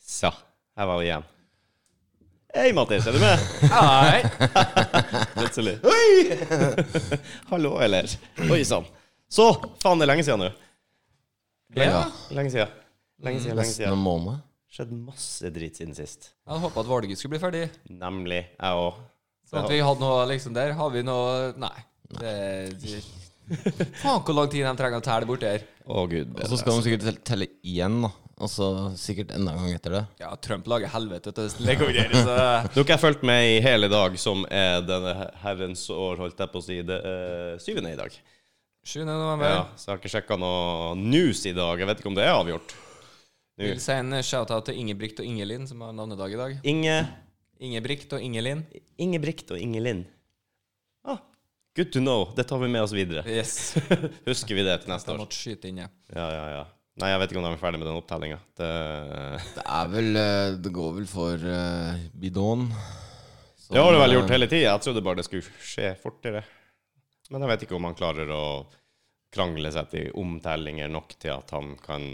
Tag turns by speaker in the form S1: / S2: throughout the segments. S1: Så, her var vi igjen. Hei, Mattis, er du med?
S2: Hei.
S1: Plutselig. Oi! Hallo, eller? Oi sann. Så, faen, det er lenge siden nå.
S2: Ja.
S1: Lenge siden. Lenge siden, lenge
S3: Nesten en
S1: siden.
S3: måned.
S1: Skjedd masse drit siden sist.
S2: Jeg hadde håpa at valget skulle bli ferdig.
S1: Nemlig jeg òg.
S2: Sånn at vi hadde noe liksom der. Har vi noe Nei. Det, det, faen, hvor lang tid de trenger å telle bort der.
S1: Å, gud.
S3: Og så skal de sikkert tel- telle igjen, da. Og så sikkert enda en gang etter det.
S2: Ja, Trump lager helvete til å legge over der. Så
S1: Nå har ikke jeg fulgt med i hele dag, som er denne herrens år, holdt jeg på å si, det eh, syvende i dag.
S2: 7. november.
S1: Ja, så jeg har ikke sjekka noe news i dag. Jeg vet ikke om det er avgjort.
S2: Vil si en shout-out til Ingebrigt og Ingelin, som har navnedag i dag.
S1: Inge,
S2: Ingebrigt og Ingelin.
S1: Ingebrigt og Ingelin. Ah, good to know. Det tar vi med oss videre.
S2: Yes.
S1: Husker vi det til neste
S2: Jeg
S1: år?
S2: måtte skyte inn, jeg.
S1: Ja, ja, ja. Nei, jeg vet ikke om de er ferdig med den opptellinga. Det
S3: Det er vel eh, Det går vel for eh, bidon. Som,
S1: Det har du vel gjort
S3: eh,
S1: hele tida. Jeg trodde bare det skulle skje fortere. Men jeg vet ikke om han klarer å krangle seg til omtellinger nok til at han kan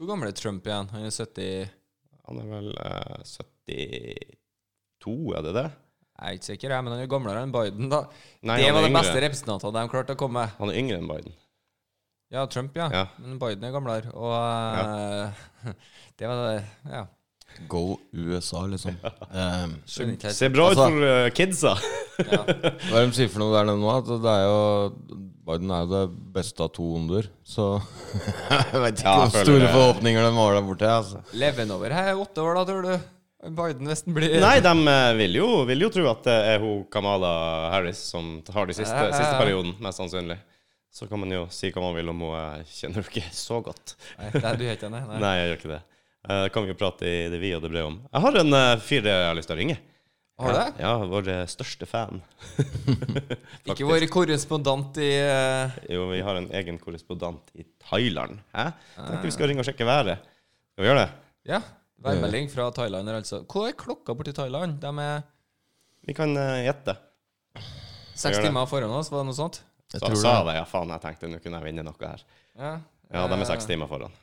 S2: Hvor gammel er Trump igjen? Han er 70
S1: Han er vel eh, 72, er det det?
S2: Jeg er ikke sikker, jeg, men han er gamlere enn Biden, da.
S1: Nei,
S2: det
S1: han
S2: var
S1: er
S2: de
S1: yngre.
S2: beste representantene de klarte å komme med.
S1: Han er yngre enn Biden.
S2: Ja, Trump, ja.
S1: Ja.
S2: Men Biden er gamlere. Og eh, det var det Ja.
S3: Go USA, liksom. Eh,
S2: Skjønner ikke helt.
S1: Ser bra ut
S3: Altså-
S1: for eh, kidsa!
S2: Ja.
S3: hva er det de sier for noe der nede nå? At det er jo Biden er jo det beste av to onder. Så jeg vet ikke
S1: Ja, jeg
S3: hvor
S1: føler
S3: store
S1: det.
S3: forhåpninger de har der borte. Altså.
S2: Levenover her er åtte år, da, tror du? Biden, hvis han blir
S1: Nei, de eh, vil jo, vil jo tro at det er hun Kamala Harris som har de siste,
S2: Ja, ja, ja.
S1: siste perioden, mest sannsynlig. Så kan man jo si hva man vil om henne. Jeg kjenner jo ikke så godt.
S2: Nei, det er du gjør ikke det? Nei.
S1: Nei, jeg gjør ikke det. Eh, kan vi jo prate i det vide og det brede om. Jeg har en eh, fyr jeg har lyst til å ringe.
S2: Har du det?
S1: Ja, vår eh, største fan.
S2: Ikke vår korrespondent i eh,
S1: Jo, vi har en egen korrespondent i Thailand. Hæ? Tenkte vi skal ringe og sjekke været. Skal vi gjøre det?
S2: Ja. Værmelding fra Thailand. er altså Hva er klokka borti Thailand? De er
S1: Vi kan eh, gjette.
S2: seks
S1: Gjør det.
S2: timer foran oss, var det noe sånt?
S1: Så jeg sa det, ja faen, jeg tenkte nå kunne jeg vinne noe her.
S2: Ja,
S1: Ja,
S2: Eh.
S1: de er seks timer foran.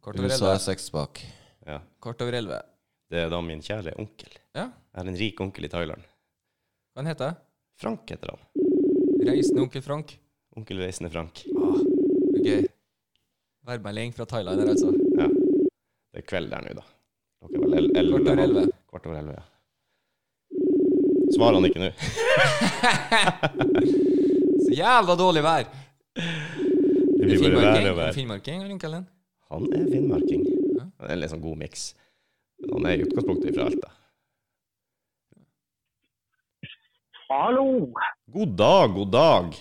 S2: Kvart over
S3: USA er
S2: elleve.
S3: seks bak.
S1: Ja.
S2: Kvart over elleve.
S1: Det er da min kjære onkel.
S2: Ja.
S1: Jeg har en rik onkel i Thailand.
S2: Hva han heter han?
S1: Frank heter han.
S2: Reisende onkel Frank.
S1: Onkel Reisende Frank.
S2: Gøy. Værmelding fra Thailand her, altså.
S1: Ja. Det er kveld der nå, da. Klokka er vel el- elleve.
S2: Kvart over elleve.
S1: Kvart over elleve, ja. Svarer han ikke nå?
S2: Så jævla dårlig vær!
S1: Det blir bare
S2: Finnmarking.
S1: vær og vær.
S2: Finnmarking, har onkelen din?
S1: Han er finnmarking. Det er en litt sånn god miks. Han er i utgangspunktet fra Alta.
S4: Hallo.
S1: God dag, god dag.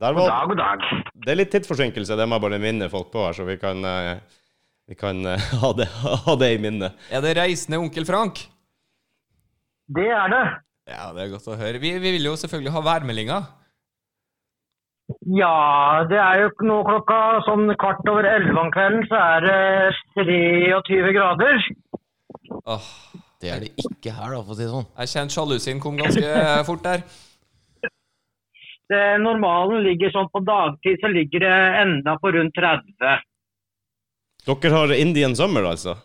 S1: Der
S4: God
S1: var,
S4: dag, god dag.
S1: Det er litt tidsforsinkelse, det må jeg bare minne folk på her, så vi kan, eh, vi kan eh, ha, det, ha det i minne.
S2: Er det reisende onkel Frank?
S4: Det er det.
S2: Ja, det er godt å høre. Vi, vi vil jo selvfølgelig ha værmeldinga.
S4: Ja, det er jo nå klokka sånn kvart over elleve om kvelden, så er det 23 grader.
S2: Åh,
S3: Det er det ikke her, da, for å si det sånn.
S2: jeg kjente sjalusien kom ganske eh, fort der.
S4: Det, normalen ligger sånn på dagtid, så ligger det enda på rundt 30.
S1: Dere har Indian Summer, altså?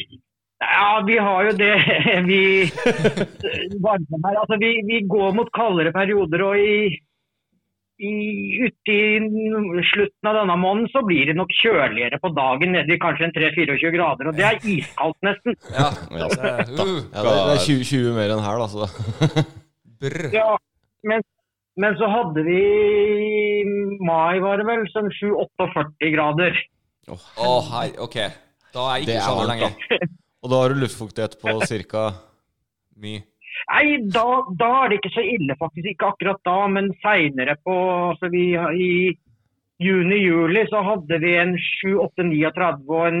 S4: Ja, vi har jo det. Vi, varmen her, altså, vi, vi går mot kaldere perioder, og i, i, uti slutten av denne måneden så blir det nok kjøligere på dagen, nede i kanskje en 3-24 grader, og det er iskaldt nesten.
S2: Ja.
S1: Ja.
S2: Så, uh,
S3: Ja, det, det er 20, 20 mer enn her, da. Så.
S2: brr.
S4: Ja, men, men så hadde vi i mai, var det vel, sånn 7-48 grader.
S2: Å, hei, OK. Da er jeg
S3: Det
S2: ikke
S3: er
S2: sjalu
S3: varmt,
S2: lenger.
S3: Og da har du luftfuktighet på ca.
S2: Mye.
S4: Nei, da, da er det ikke så ille faktisk. Ikke akkurat da, men seinere på altså vi, har- i, juni-juli så hadde vi en 7-8-39 og en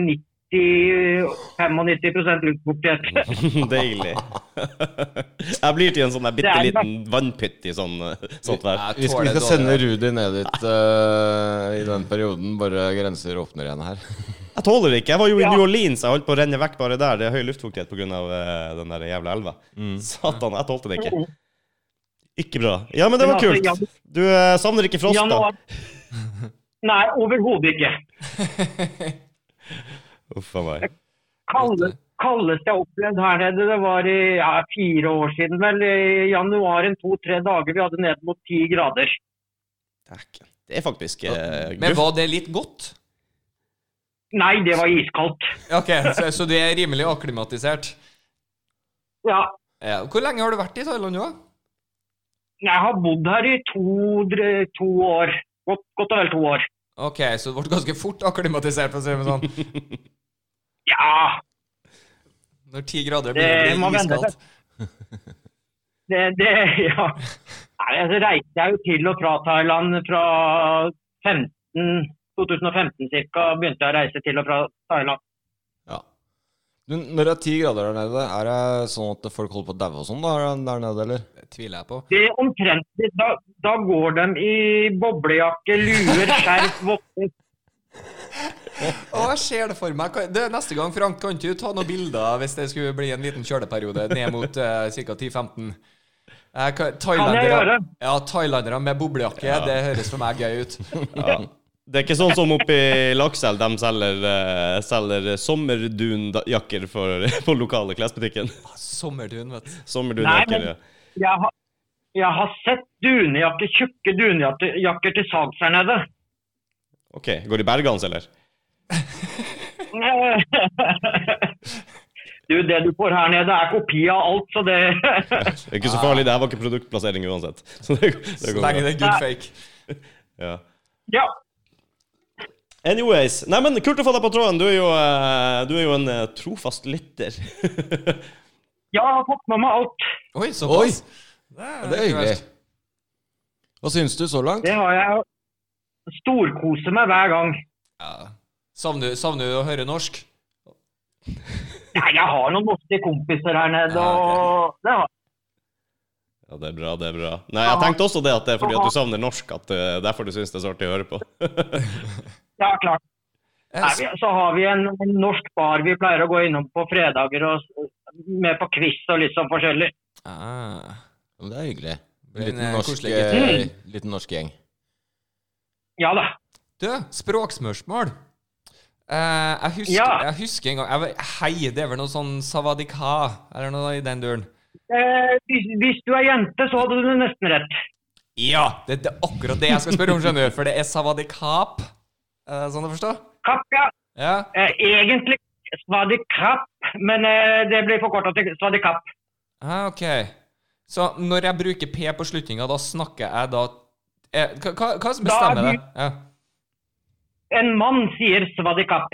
S4: 90-95 luftfuktighet.
S1: Deilig. Jeg blir til en sånn der bitte liten vannpytt i sånn, sånt vær.
S2: Jeg
S3: Vi skal, vi
S2: tåler
S3: skal sende
S2: dårlig.
S3: Rudi ned dit eh, i den perioden. Bare grenser åpner igjen her.
S1: Jeg tåler det ikke. Jeg var jo i
S4: Ja.
S1: New Orleans. Jeg holdt på å renne vekk bare der. Det er høy luftfuktighet pga. eh, den der jævla elva. Satan, jeg tålte det ikke. Ikke bra. Ja, men det
S4: Men
S1: var
S4: altså,
S1: kult. Du eh, savner ikke frost, da?
S4: Januar. Nei, overhodet ikke.
S1: Uff a meg.
S4: Kalde, kaldeste jeg har opplevd her nede, det var i, ja, fire år siden vel. I januar en to-tre dager vi hadde ned mot ti grader.
S1: Dæken. Det er faktisk eh,
S2: Men
S1: gruff.
S2: var det litt godt?
S4: Nei, det var iskaldt.
S2: Ok, så, så du er rimelig akklimatisert.
S4: Ja,
S2: Ja. Hvor lenge har du vært i Thailand nå?
S4: jeg har bodd her i to, dre- to år. Godt, godt og vel to år.
S2: Ok, så du ble ganske fort akklimatisert, for å si det sånn.
S4: Ja,
S2: Når ti grader
S4: Det
S2: blir
S4: må
S2: det
S4: vende
S2: iskaldt.
S4: det, det ja. Nei, altså, reiste jeg jo til og fra Thailand fra 15, 2015 ca. begynte jeg å reise til og fra Thailand.
S3: Ja. Du, når det er ti grader der nede, er det sånn at folk holder på å daue og sånn da, der nede, eller?
S2: Det tviler jeg på.
S4: Det er omtrent, da, da går de i boblejakke, luer, skjerf, votter.
S2: Å, jeg ser det for meg. Kan- Det, neste gang, Frank, kan ikke du ta noen bilder hvis det skulle bli en liten kjøleperiode ned mot uh, ca. 10-15? Eh, hva-
S4: jeg
S2: thailandere-
S4: gjøre?
S2: Ja, thailandere med boblejakke. Det høres for meg gøy ut.
S1: Ja. Det er ikke sånn som oppe i Lakselv, de selger, eh, selger sommerdunjakker for- på lokale klesbutikken.
S2: Sommerdun, vet du.
S4: Nei,
S1: Sommerdunjakker,
S4: men
S1: ja.
S4: jeg har, jeg har sett dunjakker, tjukke dunjakker til salgs her nede.
S1: OK. Går de bergans, eller?
S4: Du, det du får her nede er kopi av alt, så det
S1: Det er ikke så farlig, det her var ikke produktplassering uansett. Så det, det
S2: Så
S1: går
S2: lenge
S1: bra.
S2: det er good fake.
S1: Ja.
S4: Ja.
S1: Anyways. Nei, men kult å få deg på tråden. Du er jo, eh, du er jo en eh, trofast lytter.
S4: Jeg har fått med meg alt.
S2: Oi, såpass.
S3: Det er hyggelig. Hva syns du så langt?
S4: Det har jeg storkoser meg hver gang.
S2: Ja. Savner, savner du å høre norsk?
S4: Nei, jeg har noen norske kompiser her nede,
S2: Ja, ok.
S4: og det har
S1: Ja, det er bra, det er bra. Nei, jeg tenkte også det at det er fordi at du savner norsk, at eh, det er derfor du syns det er så artig å høre på.
S4: ja, klart.
S2: Eh,
S4: Nei, vi, så har vi en, en norsk bar vi pleier å gå innom på fredager og s- med på quiz og litt sånn forskjellig.
S2: ah.
S3: Ja, men Det er hyggelig. En
S2: Men,
S3: liten
S2: eh,
S3: norsk,
S2: koselig
S3: eh, liten norsk gjeng.
S4: Ja da.
S2: Du, språksmørsmål. Eh, jeg, husker,
S4: Ja.
S2: jeg husker en gang jeg, var- Hei, det er vel noe sånn savadika eller noe i den duren?
S4: Eh, hvis, hvis du er jente, så hadde du nesten rett.
S2: Ja! Det, det er akkurat det jeg skal spørre om, skjønner du. For det er savadikap. Eh, sånn å forstå?
S4: Kapp, ja.
S2: Ja.
S4: Eh, egentlig svadikapp, men eh, det blir forkorta til svadikapp.
S2: Ah, ok. Så når jeg bruker P på slutninga, da snakker jeg da eh, hva- Hva hva som
S4: Da er
S2: bestemmer
S4: du-
S2: det? Ja.
S4: En mann sier svadikapp.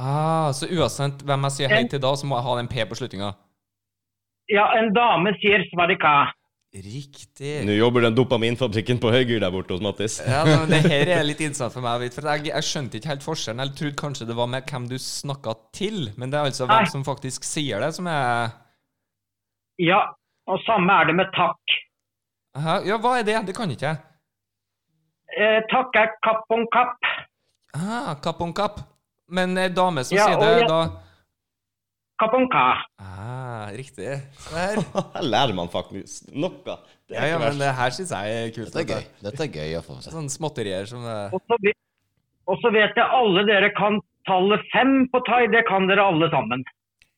S2: Ah, så uansett hvem jeg sier hei til da, så må jeg ha den P på slutninga?
S4: Ja, en dame sier svadika.
S2: Riktig.
S1: Nå jobber den dopaminfabrikken på Høygyr der borte hos Mattis.
S2: Ja, men Det her er litt innsatt for meg. vet du, For jeg, jeg skjønte ikke helt forskjellen. Jeg trodde kanskje det var med hvem du snakka til, men det er altså
S4: Nei.
S2: hvem som faktisk sier det, som er
S4: Ja, og samme er det med takk.
S2: Hæ? Ja, hva er det? Det kan ikke jeg.
S4: Eh, takk er kapp om kapp.
S2: Ah, kapp om kapp. Men ei dame som
S4: Ja,
S2: sier
S4: og
S2: det,
S4: jeg-
S2: da
S4: Kapp om ka.
S2: ah, Riktig. Se her.
S1: Her lærer man faktisk noe. Det
S2: Ja,
S1: er ikke
S2: ja, men
S1: verst.
S2: det her syns jeg er kult.
S3: Dette er
S2: vet
S3: gøy. Dette er gøy å få med
S2: du.
S3: seg.
S2: Sånne småtterier som eh,
S4: Og så vet- og så vet jeg alle dere kan tallet fem på thai. Det kan dere alle sammen.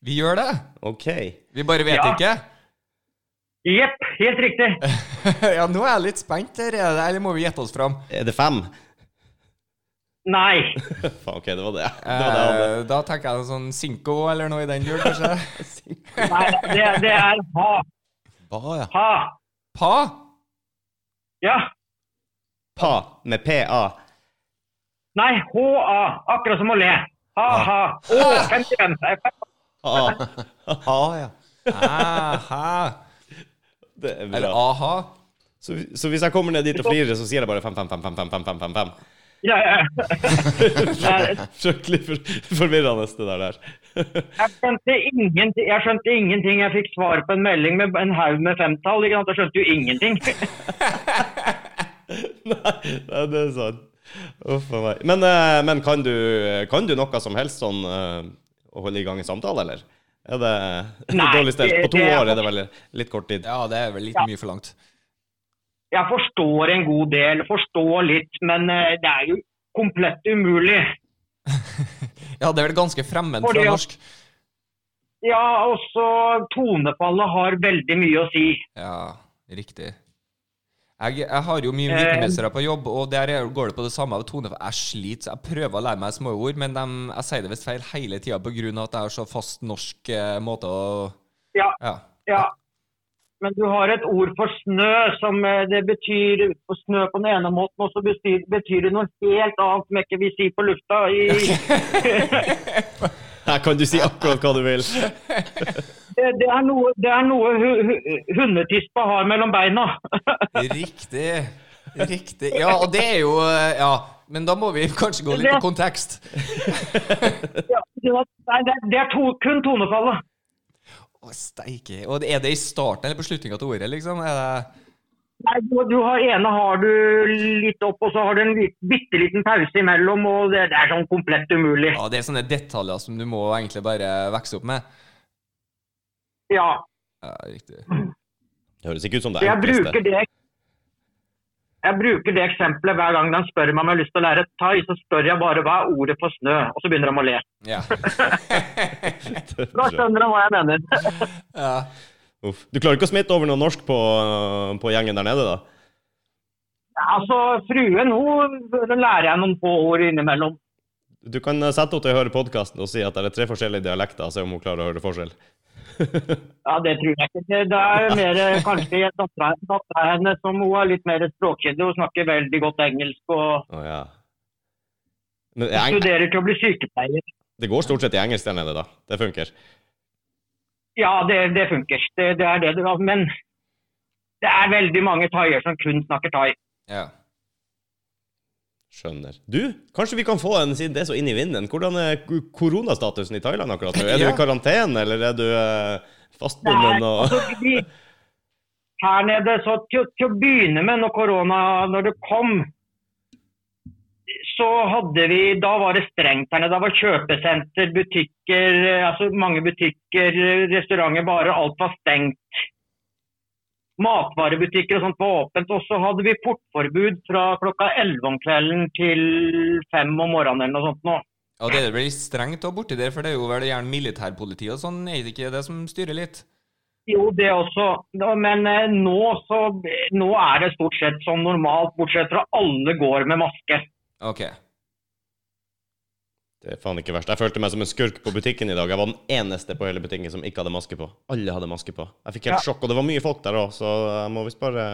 S2: Vi gjør det!
S1: OK.
S2: Vi bare vet
S4: Ja.
S2: ikke.
S4: Jepp, helt riktig.
S3: Eh.
S2: ja, nå er jeg litt spent. her, er det- Eller må vi gjette oss fram?
S1: Er det fem?
S4: Nei.
S1: Faen, OK, det var det. Det var det jeg hadde.
S2: Eh, da tenker jeg sånn Cinco eller noe i den jul, kanskje.
S4: Nei det, det er ha.
S3: Ba, ja.
S4: Ha.
S2: Pa?
S4: Ja.
S1: Pa med PA.
S4: Nei, ha. Akkurat som å le. Ha, ha. Å, 51. Nei,
S1: A.
S3: Ha, ja.
S2: Aha.
S1: Det er
S2: Eller
S1: bra.
S2: aha.
S1: Så, så hvis jeg kommer ned dit og flirer, så sier jeg bare fem, fem, fem, fem, fem, fem, fem, fem, fem.
S4: Ja, ja. Nei,
S1: Skikkelig for- forvirrende, det der der.
S4: Jeg skjønte, ingenting, jeg skjønte ingenting. Jeg fikk svar på en melding med en haug med femtall. Ikke sant? Jeg skjønte jo ingenting.
S1: Nei, nei, det er sant. Uff a meg. Men, eh, men kan, du, kan du noe som helst sånn eh, å holde i gang en samtale, eller? Er det
S4: Nei,
S1: dårlig stelt? På to
S4: det-
S1: år er det vel litt kort tid.
S2: Ja, det er vel litt mye for langt.
S4: Jeg forstår en god del, forstår litt, men eh, det er jo komplett umulig.
S2: Ja, det er vel ganske fremmed
S4: Fordi
S2: fra
S4: at-
S2: norsk.
S4: Ja, også tonefallet har veldig mye å si.
S2: Ja, riktig. Jeg, jeg har jo
S4: Eh.
S2: mye vikermestere på jobb, og der er- går det på det samme. av Tone, for jeg sliter, så jeg prøver å lære meg småord, men dem- jeg sier det visst feil hele tida pga. at jeg har så fast norsk eh, måte å
S4: Ja.
S2: ja.
S4: Ja. Men du har et ord for snø, som eh, det betyr for snø på den ene måten, og så betyr, betyr det noe helt annet som jeg ikke vil si på lufta. I,
S1: Her kan du si akkurat hva du vil.
S4: det, det er noe, det er noe hu, hu, hundetispa har mellom beina.
S2: Riktig. Riktig. Ja, og det er jo eh, Ja. Men da må vi kanskje gå litt på kontekst.
S4: Ja, det var- Nei, det, det er to, kun tonefallet.
S2: Å, steike. Og er det i starten eller på slutninga av ordet, liksom? Er det
S4: Nei, du, du har ene har du litt opp, og så har du en lit, bitte liten pause imellom, og det, det er sånn komplett umulig.
S2: Ja, det er sånne detaljer som du må egentlig bare vokse opp med.
S4: Ja,
S2: Ja, riktig.
S1: Det høres ikke ut som det
S4: jeg bruker
S1: enkleste.
S4: det jeg bruker det eksempelet hver gang de spør meg om jeg har lyst til å lære thai, så spør jeg bare hva er ordet for snø, og så begynner de å le.
S2: Ja.
S4: Da skjønner de hva jeg mener.
S2: ja.
S1: Uff. Du klarer ikke å smitte over noe norsk på, på gjengen der nede, da?
S4: Altså, fruen hun hun lærer jeg noen få ord innimellom.
S1: Du kan eh, sette henne til å høre podkasten og si at det er tre forskjellige dialekter, og se om hun klarer å høre forskjell.
S4: Ja, det tror jeg ikke. Det, det er mer eh, kanskje dattera dattera hennes som hun er litt mer språkkyndig. Hun snakker veldig godt engelsk og
S1: Å ja. Men eng
S4: studerer til å bli sykepleier.
S1: det går stort sett i engelsk der nede, da. Det funker.
S4: Ja, det, det funker. Det, det er det du har. Men det er veldig mange thaier som kun snakker thai.
S2: ja.
S1: Skjønner. Du, kanskje vi kan få en, siden det er så inn i vinden, hvordan er k- koronastatusen i Thailand akkurat nå? Er du
S2: Ja.
S1: i karantene, eller er du eh, fastbundet
S4: Nei,
S1: og
S4: altså, vi- her nede, så til, til å begynne med når korona når det kom, så hadde vi Da var det strengt her nede. Da var kjøpesenter, butikker, eh, altså mange butikker, eh, restauranter, barer. Alt var stengt. Matvarebutikker og sånt var åpent. Og så hadde vi portforbud fra klokka 11 om kvelden til 5 om morgenen eller noe sånt nå.
S2: ja, det er vel litt strengt å borti der, for det er jo vel gjerne militærpoliti og sånn, er det ikke det som styrer litt?
S4: Jo, det også. Da- Men eh, nå, så, nå er det stort sett som normalt, bortsett fra alle går med maske.
S2: OK.
S1: Det er faen ikke verst. Jeg følte meg som en skurk på butikken i dag. Jeg var den eneste på hele butikken som ikke hadde maske på. Alle hadde maske på. Jeg fikk helt sjokk, og det var mye folk der òg, så jeg må visst bare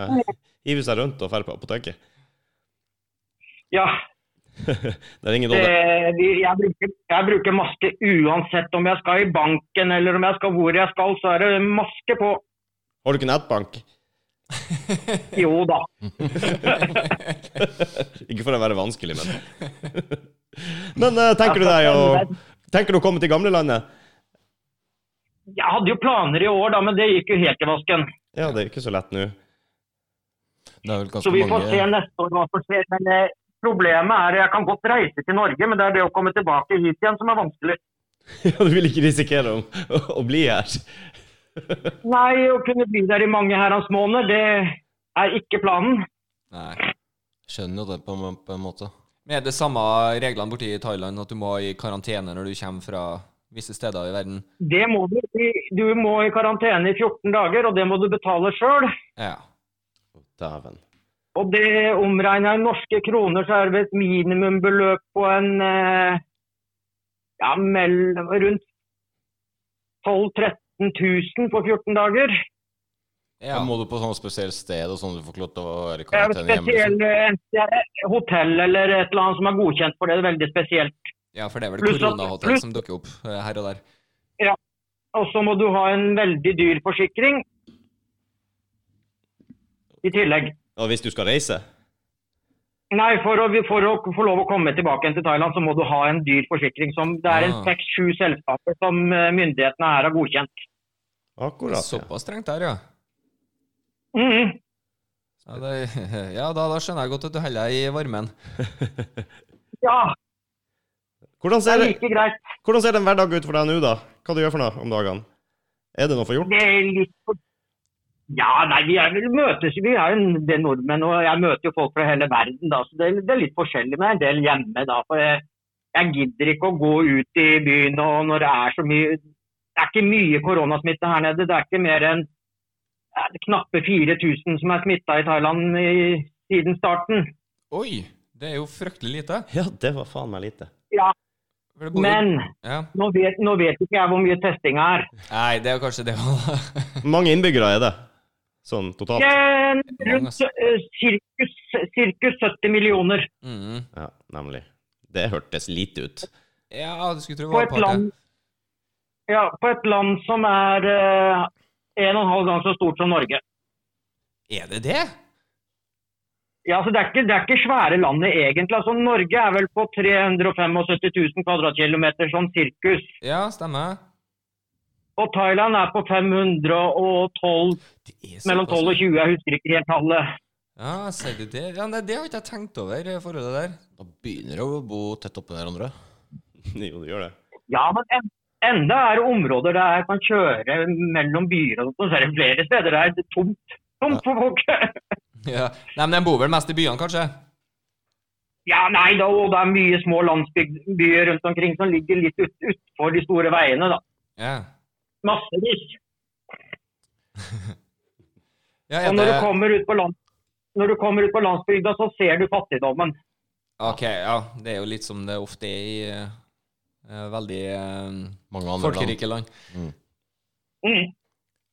S1: hive seg rundt og dra på apoteket.
S4: Ja,
S1: Det er ingen
S4: det,
S1: dårlig
S4: vi, jeg, bruker, jeg bruker maske uansett om jeg skal i banken eller om jeg skal hvor jeg skal, så er det maske på.
S1: Har du ikke nettbank?
S4: Jo da.
S1: Ikke for å være vanskelig, men Men eh, tenker du deg å Tenker du å komme til gamlelandet?
S4: Jeg hadde jo planer i år, da, men det gikk jo helt i vasken.
S1: Ja, det er ikke så lett nå.
S3: Det er vel
S4: Så
S3: ganske
S4: vi får se
S3: mange
S4: neste år hva som skjer. Men eh, problemet er jeg kan godt reise til Norge, men det er det å komme tilbake hit igjen som er vanskelig.
S1: Ja, du vil ikke risikere å, å, å bli her.
S4: Nei, å kunne bli der i mange herrens måneder, det er ikke planen.
S2: Nei.
S3: Skjønner jo det på, en- på en måte.
S2: Men er det samme reglene borti i Thailand, at du må i karantene når du kommer fra visse steder i verden?
S4: Det må du. Du må i karantene i 14 dager, og det må du betale sjøl.
S2: Ja.
S1: Dæven.
S4: Og det omregna i norske kroner, så er det et minimumbeløp på en eh, ja, mellom, rundt 12 000-13 000 på 14 dager.
S2: ja.
S3: Da må du på sånn spesielt sted og sånn du får ikke lov til å være i
S4: Det er
S3: karantene hjemme? Liksom.
S4: spesielt eh, hotell eller et eller annet som er godkjent for det. Det er veldig spesielt.
S2: ja, for det er vel
S4: Pluss at-
S2: koronahotell som dukker opp eh, her og der.
S4: Og så må du ha en veldig dyr forsikring i tillegg.
S1: Og hvis du skal reise?
S4: Nei, for å, for å få lov å komme tilbake igjen til Thailand, så må du ha en dyr forsikring. Som, det er en
S2: Ah.
S4: seks-sju selskaper som eh, myndighetene her har godkjent.
S1: Akkurat. ja.
S2: Såpass strengt der, ja.
S4: Mhm.
S2: Ja, det, ja da, da skjønner jeg godt at du holder deg i varmen.
S4: Ja,
S1: Hvordan
S4: det
S1: ser,
S4: er
S1: det-
S4: like greit.
S1: hvordan ser en hverdag ut for deg nå, da? Hva du gjør for noe om dagene? Er det noe for gjort?
S4: Det er litt for... Ja, nei, vi er vel møtes, vi er jo en del nordmenn, og jeg møter jo folk fra hele verden, da, så det, er- det er litt forskjellig med en del hjemme, da, for jeg, jeg gidder ikke å gå ut i byen, og når det er så mye, det er ikke mye koronasmitte her nede, det er ikke mer enn ja, det er knappe 4000 som er smittet i Thailand i, siden starten.
S2: Oi! Det er jo fryktelig lite.
S1: Ja, det var faen meg lite.
S2: For det bor jo-
S4: Men
S2: ja.
S4: nå vet, nå vet ikke jeg hvor mye testing er.
S2: Nei, det er jo kanskje det òg.
S1: Mange innbyggere er det, sånn totalt.
S4: Eh, Rundt eh, cirkus, cirkus 70 millioner.
S2: mm.
S1: Ja, nemlig. Det hørtes lite ut.
S2: Ja, du skulle tro det
S4: på
S2: var
S4: et land ja, på et land som er eh, en og en halv gang så stort som Norge.
S2: Er det det?
S4: Ja, så det er, ikke, det er ikke svære landet egentlig. Altså, Norge er vel på 375 000 kvadratkilometer som sirkus.
S2: Ja, stemmer.
S4: Og Thailand er på 512,
S2: Det er
S4: mellom 12 og 20, jeg husker ikke helt tallet.
S2: Ja, sier du det? Ja, nei, det har ikke jeg tenkt over, eh, forholdet der.
S3: Da begynner det å bo tett oppå hverandre.
S1: Jo, det gjør det.
S4: Ja, men en, enda er det områder der jeg kan kjøre mellom byer og sånn, så er det flere steder der det er tomt. Tomt for folk.
S2: Ja. Nei, men de bor vel mest i byene, kanskje?
S4: Ja, nei da, og det er mye små landsbyer rundt omkring som ligger litt ut, utfor de store veiene, da.
S2: Ja.
S4: Massevis.
S2: ja
S4: Og
S2: er
S4: når
S2: det...
S4: du kommer ut på, land, når du kommer ut på landsbygda, så ser du fattigdommen.
S2: Ok, ja. Det er jo litt som det ofte er i eh, eh, veldig eh,
S3: Mange andre
S2: folkerike land.
S4: Mm.
S3: land.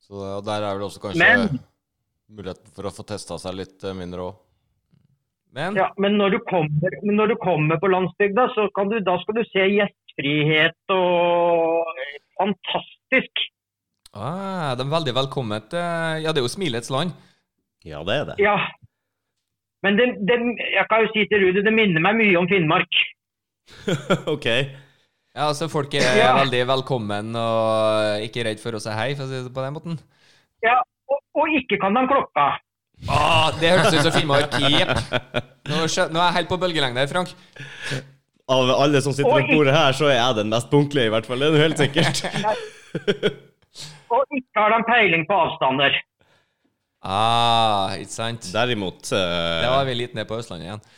S3: Så ja, der er vel også kanskje
S4: Men-
S3: muligheten for å få testa seg litt eh, mindre òg.
S2: Men
S4: Ja, men når du, kommer, men når du kommer på landsbygda, så kan du, da skal du se gjestfrihet og Fantastisk.
S2: ah, de er veldig velkommen til Ja, det er jo smilets land.
S1: Ja, det er det.
S4: Ja. Men det, det, jeg kan jo si til Rudi, det minner meg mye om Finnmark.
S1: OK.
S2: Ja, altså folk er
S4: Ja.
S2: veldig velkommen og ikke redd for å si hei, for å si det på den måten.
S4: Ja, og, og ikke kan de klokka.
S2: Ah, det hørtes ut som Finnmark. Jepp. Nå, skjø- nå er jeg helt på bølgelengde her, Frank.
S1: Av alle som sitter rundt
S4: Oi.
S1: bordet her, så er jeg den mest punktlige, i hvert fall. Det er jo helt sikkert.
S4: Og ikke har de peiling på avstander.
S2: Ah, ikke sant?
S1: Derimot eh,
S2: Da var vi litt ned på Østlandet igjen.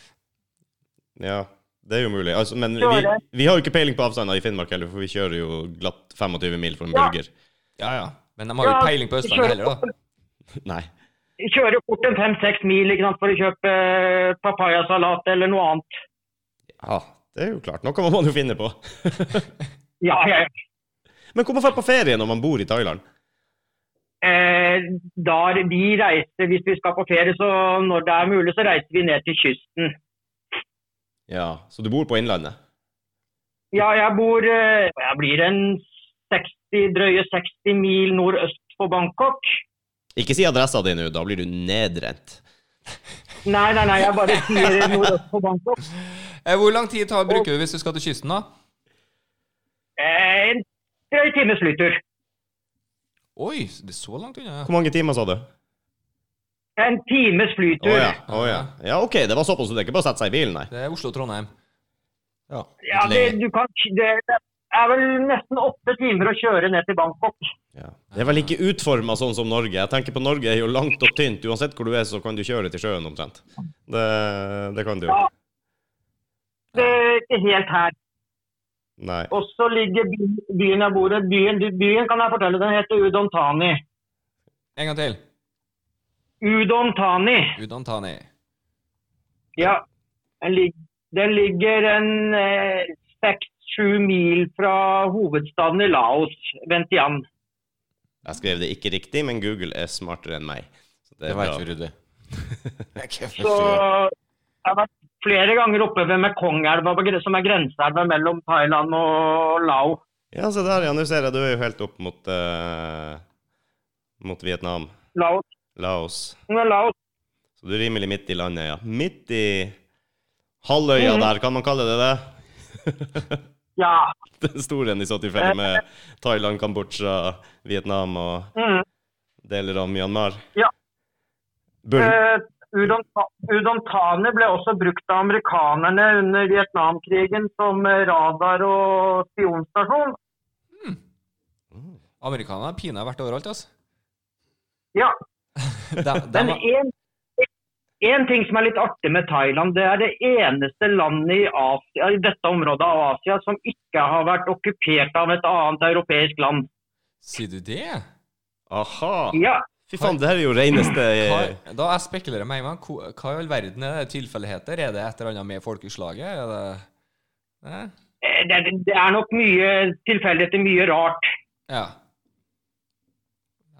S1: Ja, det er jo mulig. Altså, men vi,
S4: Kjører.
S1: vi har jo ikke peiling på avstander i Finnmark heller, for vi kjører jo glatt 25 mil for en
S4: Ja.
S1: burger.
S2: Ja, ja. Men de har jo ikke peiling på Østlandet heller, da.
S1: Nei.
S4: Kjører fort en fem-seks mil ikke sant, for å kjøpe eh, papayasalat eller noe annet.
S1: Ja, det er jo klart. Noe må man jo finne på.
S4: Ja, ja. ja.
S1: Men hvor man drar på ferie når man bor i Thailand?
S4: Eh, da er- vi reiser, hvis vi skal på ferie, så når det er mulig, så reiser vi ned til kysten.
S1: Ja, så du bor på Innlandet?
S4: Ja, jeg bor eh, Jeg blir en 60, drøye 60 mil nordøst for Bangkok.
S1: Ikke si adressa di nå, da blir du nedrent.
S4: Nei, nei, nei, jeg bare sier nordøst for Bangkok.
S2: Eh, Hvor lang tid tar, bruker du hvis du skal til kysten, da?
S4: Eh, en drøy times flytur.
S2: Oi, det er så langt unna.
S1: Hvor mange timer sa du?
S4: En times
S1: Å
S4: flytur.
S1: ja. Å ja. Ja, OK, det var såpass, så det er ikke bare å sette seg i bilen, nei.
S2: Det er Oslo-Trondheim.
S3: Ja.
S4: Ja, det, du kan, det, det er vel nesten åtte timer å kjøre ned til Bangkok.
S1: Ja. Det er vel ikke utforma sånn som Norge. Jeg tenker på Norge er jo langt og tynt. Uansett hvor du er, så kan du kjøre til sjøen omtrent. Det, det kan du jo.
S4: Ja. Det er ikke helt her.
S1: Nei.
S4: Og så ligger by- byen jeg bor i. Byen, byen kan jeg fortelle, den heter Udon Thani.
S2: En gang til.
S4: Udon Thani,
S2: Udon Thani.
S4: ja. Den, lig, den ligger en seks-sju mil fra hovedstaden i Laos, Ventian.
S1: Jeg skrev det ikke riktig, men Google er smartere enn meg. Så det
S3: Det
S1: er
S3: veit vi,
S1: bra.
S3: Rudi. Det er ikke første
S4: Så
S3: gang.
S4: jeg har vært flere ganger oppe ved Mekongelva, som er grenseelva mellom Thailand og Lao.
S1: Ja, se der, ja. Nå ser jeg du er jo helt opp mot eh, Mot Vietnam.
S4: Laos.
S1: Laos.
S4: Laos.
S1: Så du er rimelig midt i landet, ja. Midt i Halvøya der, kan man kalle det det?
S4: Ja.
S1: Den store en i så tilfelle med Thailand, Kambodsja, Vietnam og
S4: Mm.
S1: deler av Myanmar?
S4: Ja.
S1: Bur
S4: Eh, Udon, Udon Thane ble også brukt av amerikanerne under Vietnamkrigen som eh, radar og spionstasjon.
S2: Amerikanerne har pinadø vært overalt, altså.
S4: Ja,
S2: De, de,
S4: Men
S2: har-
S4: en, en ting som er litt artig med Thailand, det er det eneste landet i, Asia, i dette området av Asia som ikke har vært okkupert av et annet europeisk land.
S2: sier du det?
S1: Aha!
S4: Ja,
S1: Fy faen, det her er jo eh, reneste
S2: Hva, da jeg spekulerer meg med, hva hva i all verden er det tilfeldigheter? Er det et eller annet med folkeslaget? Er det... Hæ?
S4: eh, det, det er nok mye tilfeldigheter, mye rart.
S2: Ja.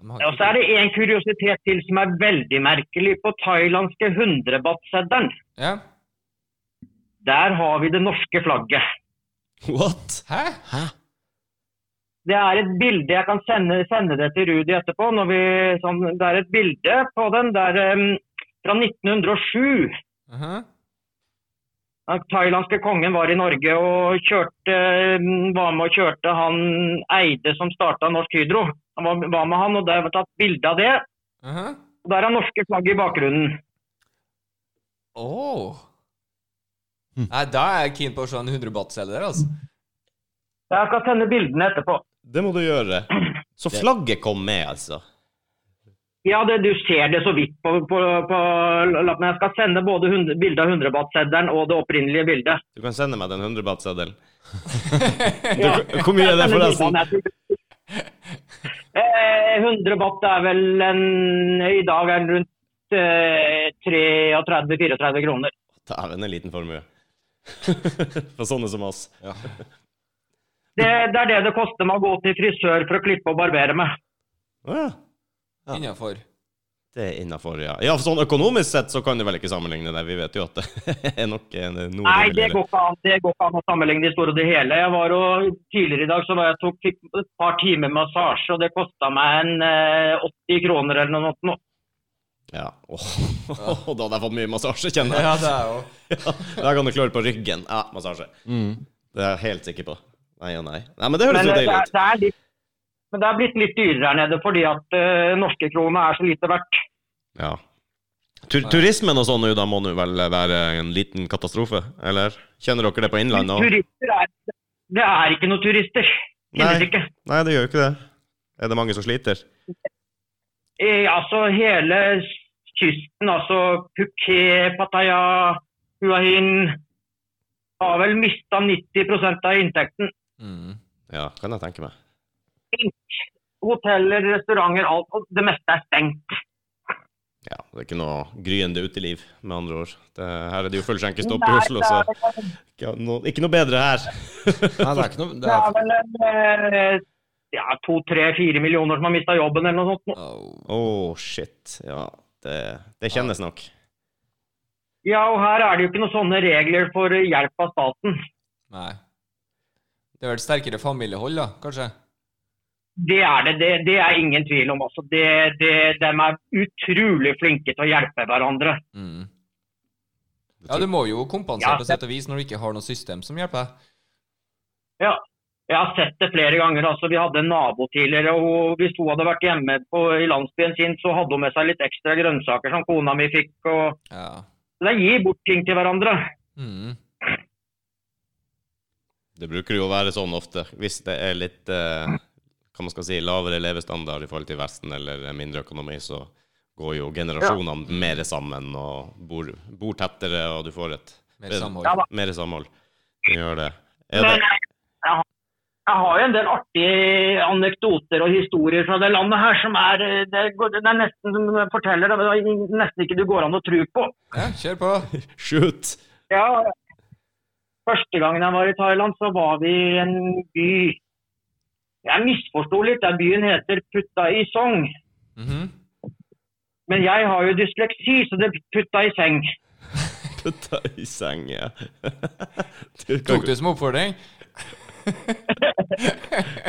S2: De har
S4: Og så er det en kuriositet til som er veldig merkelig. På thailandske 100-baht-seddelen,
S2: Ja.
S4: der har vi det norske flagget.
S1: What?
S2: Hæ?
S4: Det er et bilde jeg kan sende, sende det til Rudi etterpå. Når vi, sånn, det er et bilde på den der em, fra 1907.
S2: Aha.
S4: Den thailandske kongen var i Norge og kjørte, var med og kjørte han Eide som starta Norsk Hydro. Han var, var med han, og det var tatt bilde av det.
S2: Aha.
S4: Og Der er norske flagg i bakgrunnen.
S2: Åh. Nei, da er jeg keen på å se en 100 baht-selger, altså.
S4: Jeg skal sende bildene etterpå.
S1: Det må du gjøre. Så flagget kom med, altså?
S4: Ja, det, du ser det så vidt på, på, på lappen. Jeg skal sende både hund- bilde av 100 baht-seddelen og det opprinnelige bildet.
S1: Du kan sende meg den 100 baht-seddelen.
S4: Ja.
S1: Du- Hvor mye er det,
S4: Jeg sender
S1: forresten?
S4: bildene etterpå. Eh, 100 baht er vel en I dag er den rundt eh, 33-34 kroner.
S1: Dæven, en liten formue. For sånne som oss.
S4: Det, det er det det koster meg å gå til frisør for å klippe og barbere meg.
S1: Å ja.
S2: Innenfor.
S1: Det er innafor, ja. ja. for Sånn økonomisk sett så kan du vel ikke sammenligne det. Vi vet jo at det er nok en noe
S4: Nei,
S1: billigere.
S4: det går ikke an, det går ikke an å sammenligne det store og det hele. Jeg var og, tidligere i dag så var jeg tok fikk et par timer massasje, og det kosta meg en eh, 80 kroner eller noe sånt. nå.
S1: Ja. Åh, da hadde jeg fått mye massasje, kjenner jeg.
S2: Ja, det er jo
S1: Ja. Der kan du klør på ryggen. Ja, massasje.
S2: Mm.
S1: Det er jeg helt sikker på. Nei og nei. Nei, Men det høres
S4: Men
S1: jo
S4: eh, det
S1: deilig
S4: er,
S1: ut.
S4: det er litt, men det er blitt litt dyrere her nede fordi at eh, norske krona er så lite verdt.
S1: Ja. Tur turismen og sånn nå, da må nå vel være en liten katastrofe, eller? Kjenner dere det på innlandet òg?
S4: Turister er Det er ikke noen turister. Finnes
S1: Nei.
S4: ikke.
S1: Nei, det gjør jo ikke det. Er det mange som sliter?
S4: Eh, altså hele kysten, altså Phuket, Pattaya, Hua Hin har vel mista 90 av inntekten.
S2: mm.
S1: Ja, kan jeg tenke meg.
S4: Hoteller, restauranter, alt. og Det meste er stengt.
S1: Ja, Det er ikke noe gryende uteliv, med andre ord. Det, her er det jo full skjenkestopp i
S4: Nei,
S1: Oslo,
S4: det
S1: så
S4: er vel-
S1: ikke noe, ikke noe bedre her.
S3: Nei, det er ikke noe det
S4: Det er
S3: er,
S4: vel en, eh, ja, to, tre, fire millioner som har mista jobben eller noe sånt.
S2: Åh.
S1: Oh, shit. Ja, det, det kjennes nok.
S4: Ja, og her er det jo ikke noen sånne regler for hjelp av staten.
S2: Nei. Det er vel et sterkere familiehold, da, kanskje?
S4: Det er det. Det, det er ingen tvil om. Altså, det, det, de er utrolig flinke til å hjelpe hverandre.
S2: Mm. Ja, du må jo kompensere
S4: Ja.
S2: på sett og vis når du ikke har noe system som hjelper deg.
S4: Ja, jeg har sett det flere ganger. Altså, vi hadde en nabo tidligere, og hvis hun hadde vært hjemme på, i landsbyen sin, så hadde hun med seg litt ekstra grønnsaker som kona mi fikk. og
S2: Ja.
S4: så De gir bort ting til hverandre.
S2: Mm.
S1: Det bruker jo å være sånn ofte, hvis det er litt eh, hva man skal si, lavere levestandard i forhold til Vesten eller mindre økonomi, så går jo generasjonene mer sammen og bor, bor tettere, og du får et
S2: Mer samhold.
S4: Ja da.
S1: Mer samhold. Du gjør det. Er
S4: Men
S1: det
S4: jeg, jeg har- jeg har jo en del artige anekdoter og historier fra det landet her som er eh, Det, går- det er nesten som jeg forteller, det er nesten ikke du går an å tro på.
S2: Ja, kjør på.
S1: Shoot!
S4: Ja, første gangen jeg var i Thailand, så var vi i en by Jeg misforsto litt. Den byen heter Puttaisong.
S2: Mhm.
S4: Men jeg har jo dysleksi, så det putta i seng.
S1: Putta i seng, ja. Du kan-
S2: Tok du som oppfordring?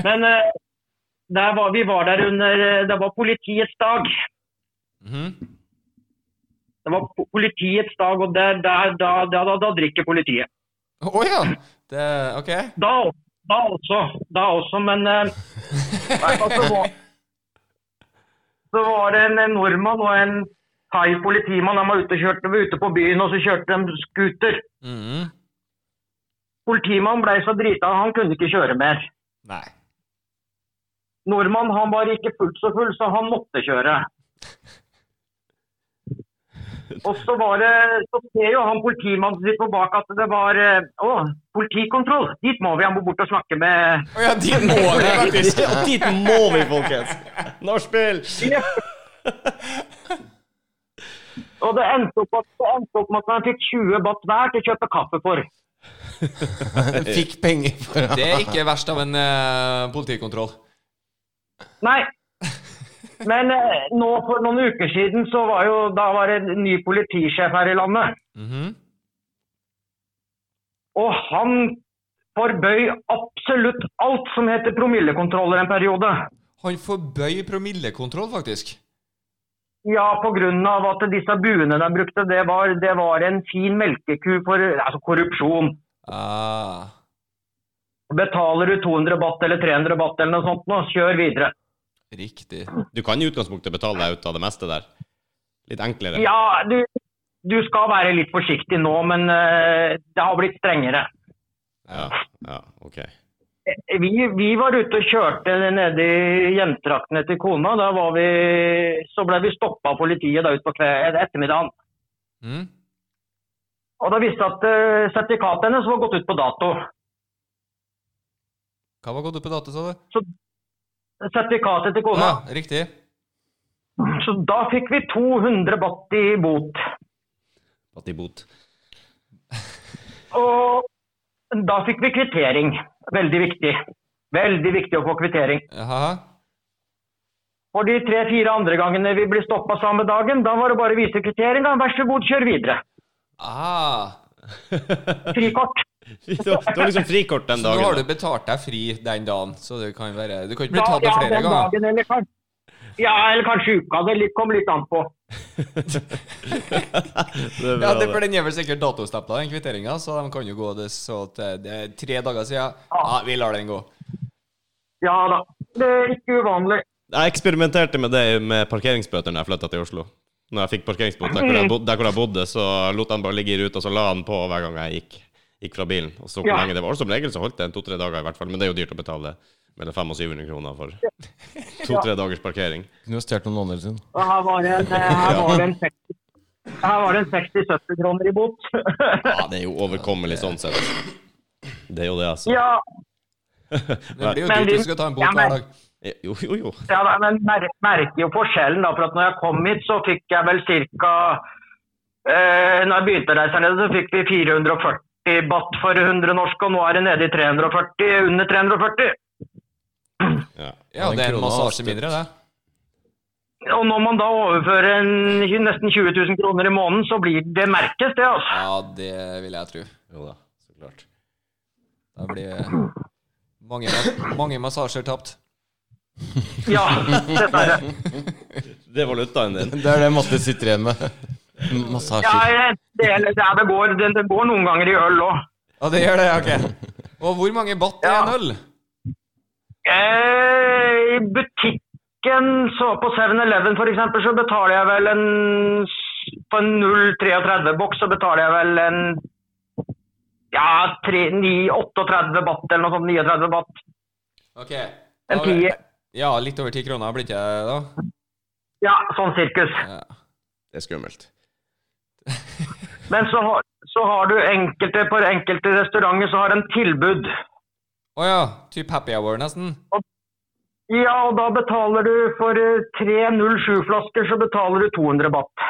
S4: Men eh, der var, vi var der under eh, Det var politiets dag.
S2: Mhm.
S4: Det var po- politiets dag, og det, der, da, da, da, da drikker politiet.
S2: Å ja! Det, ok.
S4: Da, da også. Da også, men eh, i hvert fall så, var, så var det en eh, nordmann og en thai politimann. De var ute, og kjørte, var ute på byen, og så kjørte de scooter.
S2: Mhm.
S4: Politimannen ble så drita, han kunne ikke kjøre mer.
S2: Nei.
S4: Nordmann han var ikke fullt så full, så han måtte kjøre. Og så var det, så ser jo han politimannen sitt på bak at det var eh, Å, politikontroll! Dit må vi, han må bort og snakke med
S2: Å ja, dit må vi faktisk!
S1: Dit må vi, folkens! Nachspiel!
S4: Og det endte opp, at, det endte opp med at han fikk 20 baht hver til å kjøpe kaffe for.
S3: Fikk penger for
S2: Det er ikke verst av en eh, politikontroll.
S4: Nei. Men eh, nå for noen uker siden så var jo Da var det en ny politisjef her i landet.
S2: Mhm.
S4: Og han forbøy absolutt alt som heter promillekontroller en periode.
S2: Han forbøy promillekontroll, faktisk.
S4: Ja, pga. at disse buene de brukte, det var, det var en fin melkeku for altså korrupsjon.
S2: Ah.
S4: Betaler du 200 baht eller 300 baht eller noe sånt nå, kjør videre.
S2: Riktig.
S1: Du kan i utgangspunktet betale deg ut av det meste der. Litt enklere.
S4: Ja, du, du skal være litt forsiktig nå, men eh, det har blitt strengere.
S1: Ja, ja, ok.
S4: Vi, vi var ute og kjørte nede i hjemtraktene til kona. Da var vi, så ble vi stoppa av politiet da utpå ettermiddagen.
S2: Mm.
S4: Og da visste jeg at eh, sertifikatet hennes var gått ut på dato.
S2: Hva var gått opp på dato, sa du?
S4: Sertifikatet til
S2: Å
S4: kona.
S2: ja, riktig.
S4: Så da fikk vi 200 baht i bot.
S1: At de bot.
S4: Og da fikk vi kvittering. Veldig viktig. Veldig viktig å få kvittering.
S2: Jaha.
S4: For de tre-fire andre gangene vi ble stoppa samme dagen, da var det bare å vise kvittering. Da. Vær så god, kjør videre.
S2: Ah.
S4: Frikort.
S1: Du har du har liksom frikort den
S2: Så nå har du
S1: dagen. da.
S2: betalt deg fri den dagen, så det kan være Du kan ikke
S4: Da-
S2: betale deg
S4: ja,
S2: flere
S4: den
S2: ganger.
S4: dagen, eller kanskje, ja, eller kanskje uka. Det litt- kom litt an på.
S1: Det er
S2: Ja,
S1: bra,
S2: det, for
S1: det.
S2: den er vel sikkert datostempla, den kvitteringa, så de kan jo gå det så til det er tre dager siden. Ja, vi lar den gå.
S4: Ja da. Det er ikke uvanlig.
S1: Jeg eksperimenterte med det med parkeringsbøter når jeg flytta til Oslo. Når jeg fikk parkeringsbot der hvor jeg, bod, der hvor jeg bodde, så lot jeg den bare ligge i ruta, så la jeg den på hver gang jeg gikk, gikk fra bilen. Og så hvor
S4: Ja.
S1: lenge det var. Og som regel så holdt det en to-tre dager i hvert fall, men det er jo dyrt å betale mellom 500 og 700 kroner for to-tre dagers parkering.
S3: Kunne jo stjålet noen andre sin.
S4: Og Her var det en, eh, her var det en 60 her var det en 60-70 kroner i bot.
S1: Ja, det er jo overkommelig sånn sett. Det er jo det, altså.
S4: ja,
S2: Det blir jo
S4: Men
S2: dyrt
S4: vi-
S2: hvis du skal ta en
S4: Ja,
S2: bot
S4: men-
S2: hver dag.
S1: Jo, jo, jo.
S4: ja da, men mer, merker jo forskjellen, da. For at når jeg kom hit, så fikk jeg vel ca. Eh, når jeg begynte å reise her nede, så fikk vi 440 baht for 100 norsk, og nå er det nede i 340, under 340.
S1: Ja.
S2: Ja, det er en
S3: krona har
S2: massasje
S3: støtt.
S2: mindre, det.
S4: Og når man da overfører en, nesten 20 000 kroner i måneden, så blir det merkes, det, altså.
S2: Ja, det vil jeg tro.
S1: Jo da, så klart.
S2: Da blir mange, mange massasjer tapt.
S4: Ja, dessverre.
S1: Det er valutaen din.
S3: Det er det Matte sitter igjen med.
S4: Ja,
S3: Massasjer.
S4: det, det, det, går, det, det går noen ganger i øl òg.
S2: Ja, det gjør det, ok. Og hvor mange batt er en
S4: Ja.
S2: øl?
S4: Eh, I butikken så på 7-Eleven for eksempel, så betaler jeg vel en s- På en 0,33-boks så betaler jeg vel en ja, tre- ni- 38 baht eller noe sånt. 39 baht.
S2: Ok.
S4: En
S2: Da-
S4: tier.
S2: Ja, litt over ti kroner blir ikke jeg da.
S4: Ja, sånn sirkus.
S2: Ja.
S1: Det er skummelt.
S4: Men så har, så har du enkelte på enkelte restauranter så har de tilbud.
S2: Å ja, typ happy hour nesten.
S4: Ja, og da betaler du for eh, tre 07-flasker så betaler du 200 baht.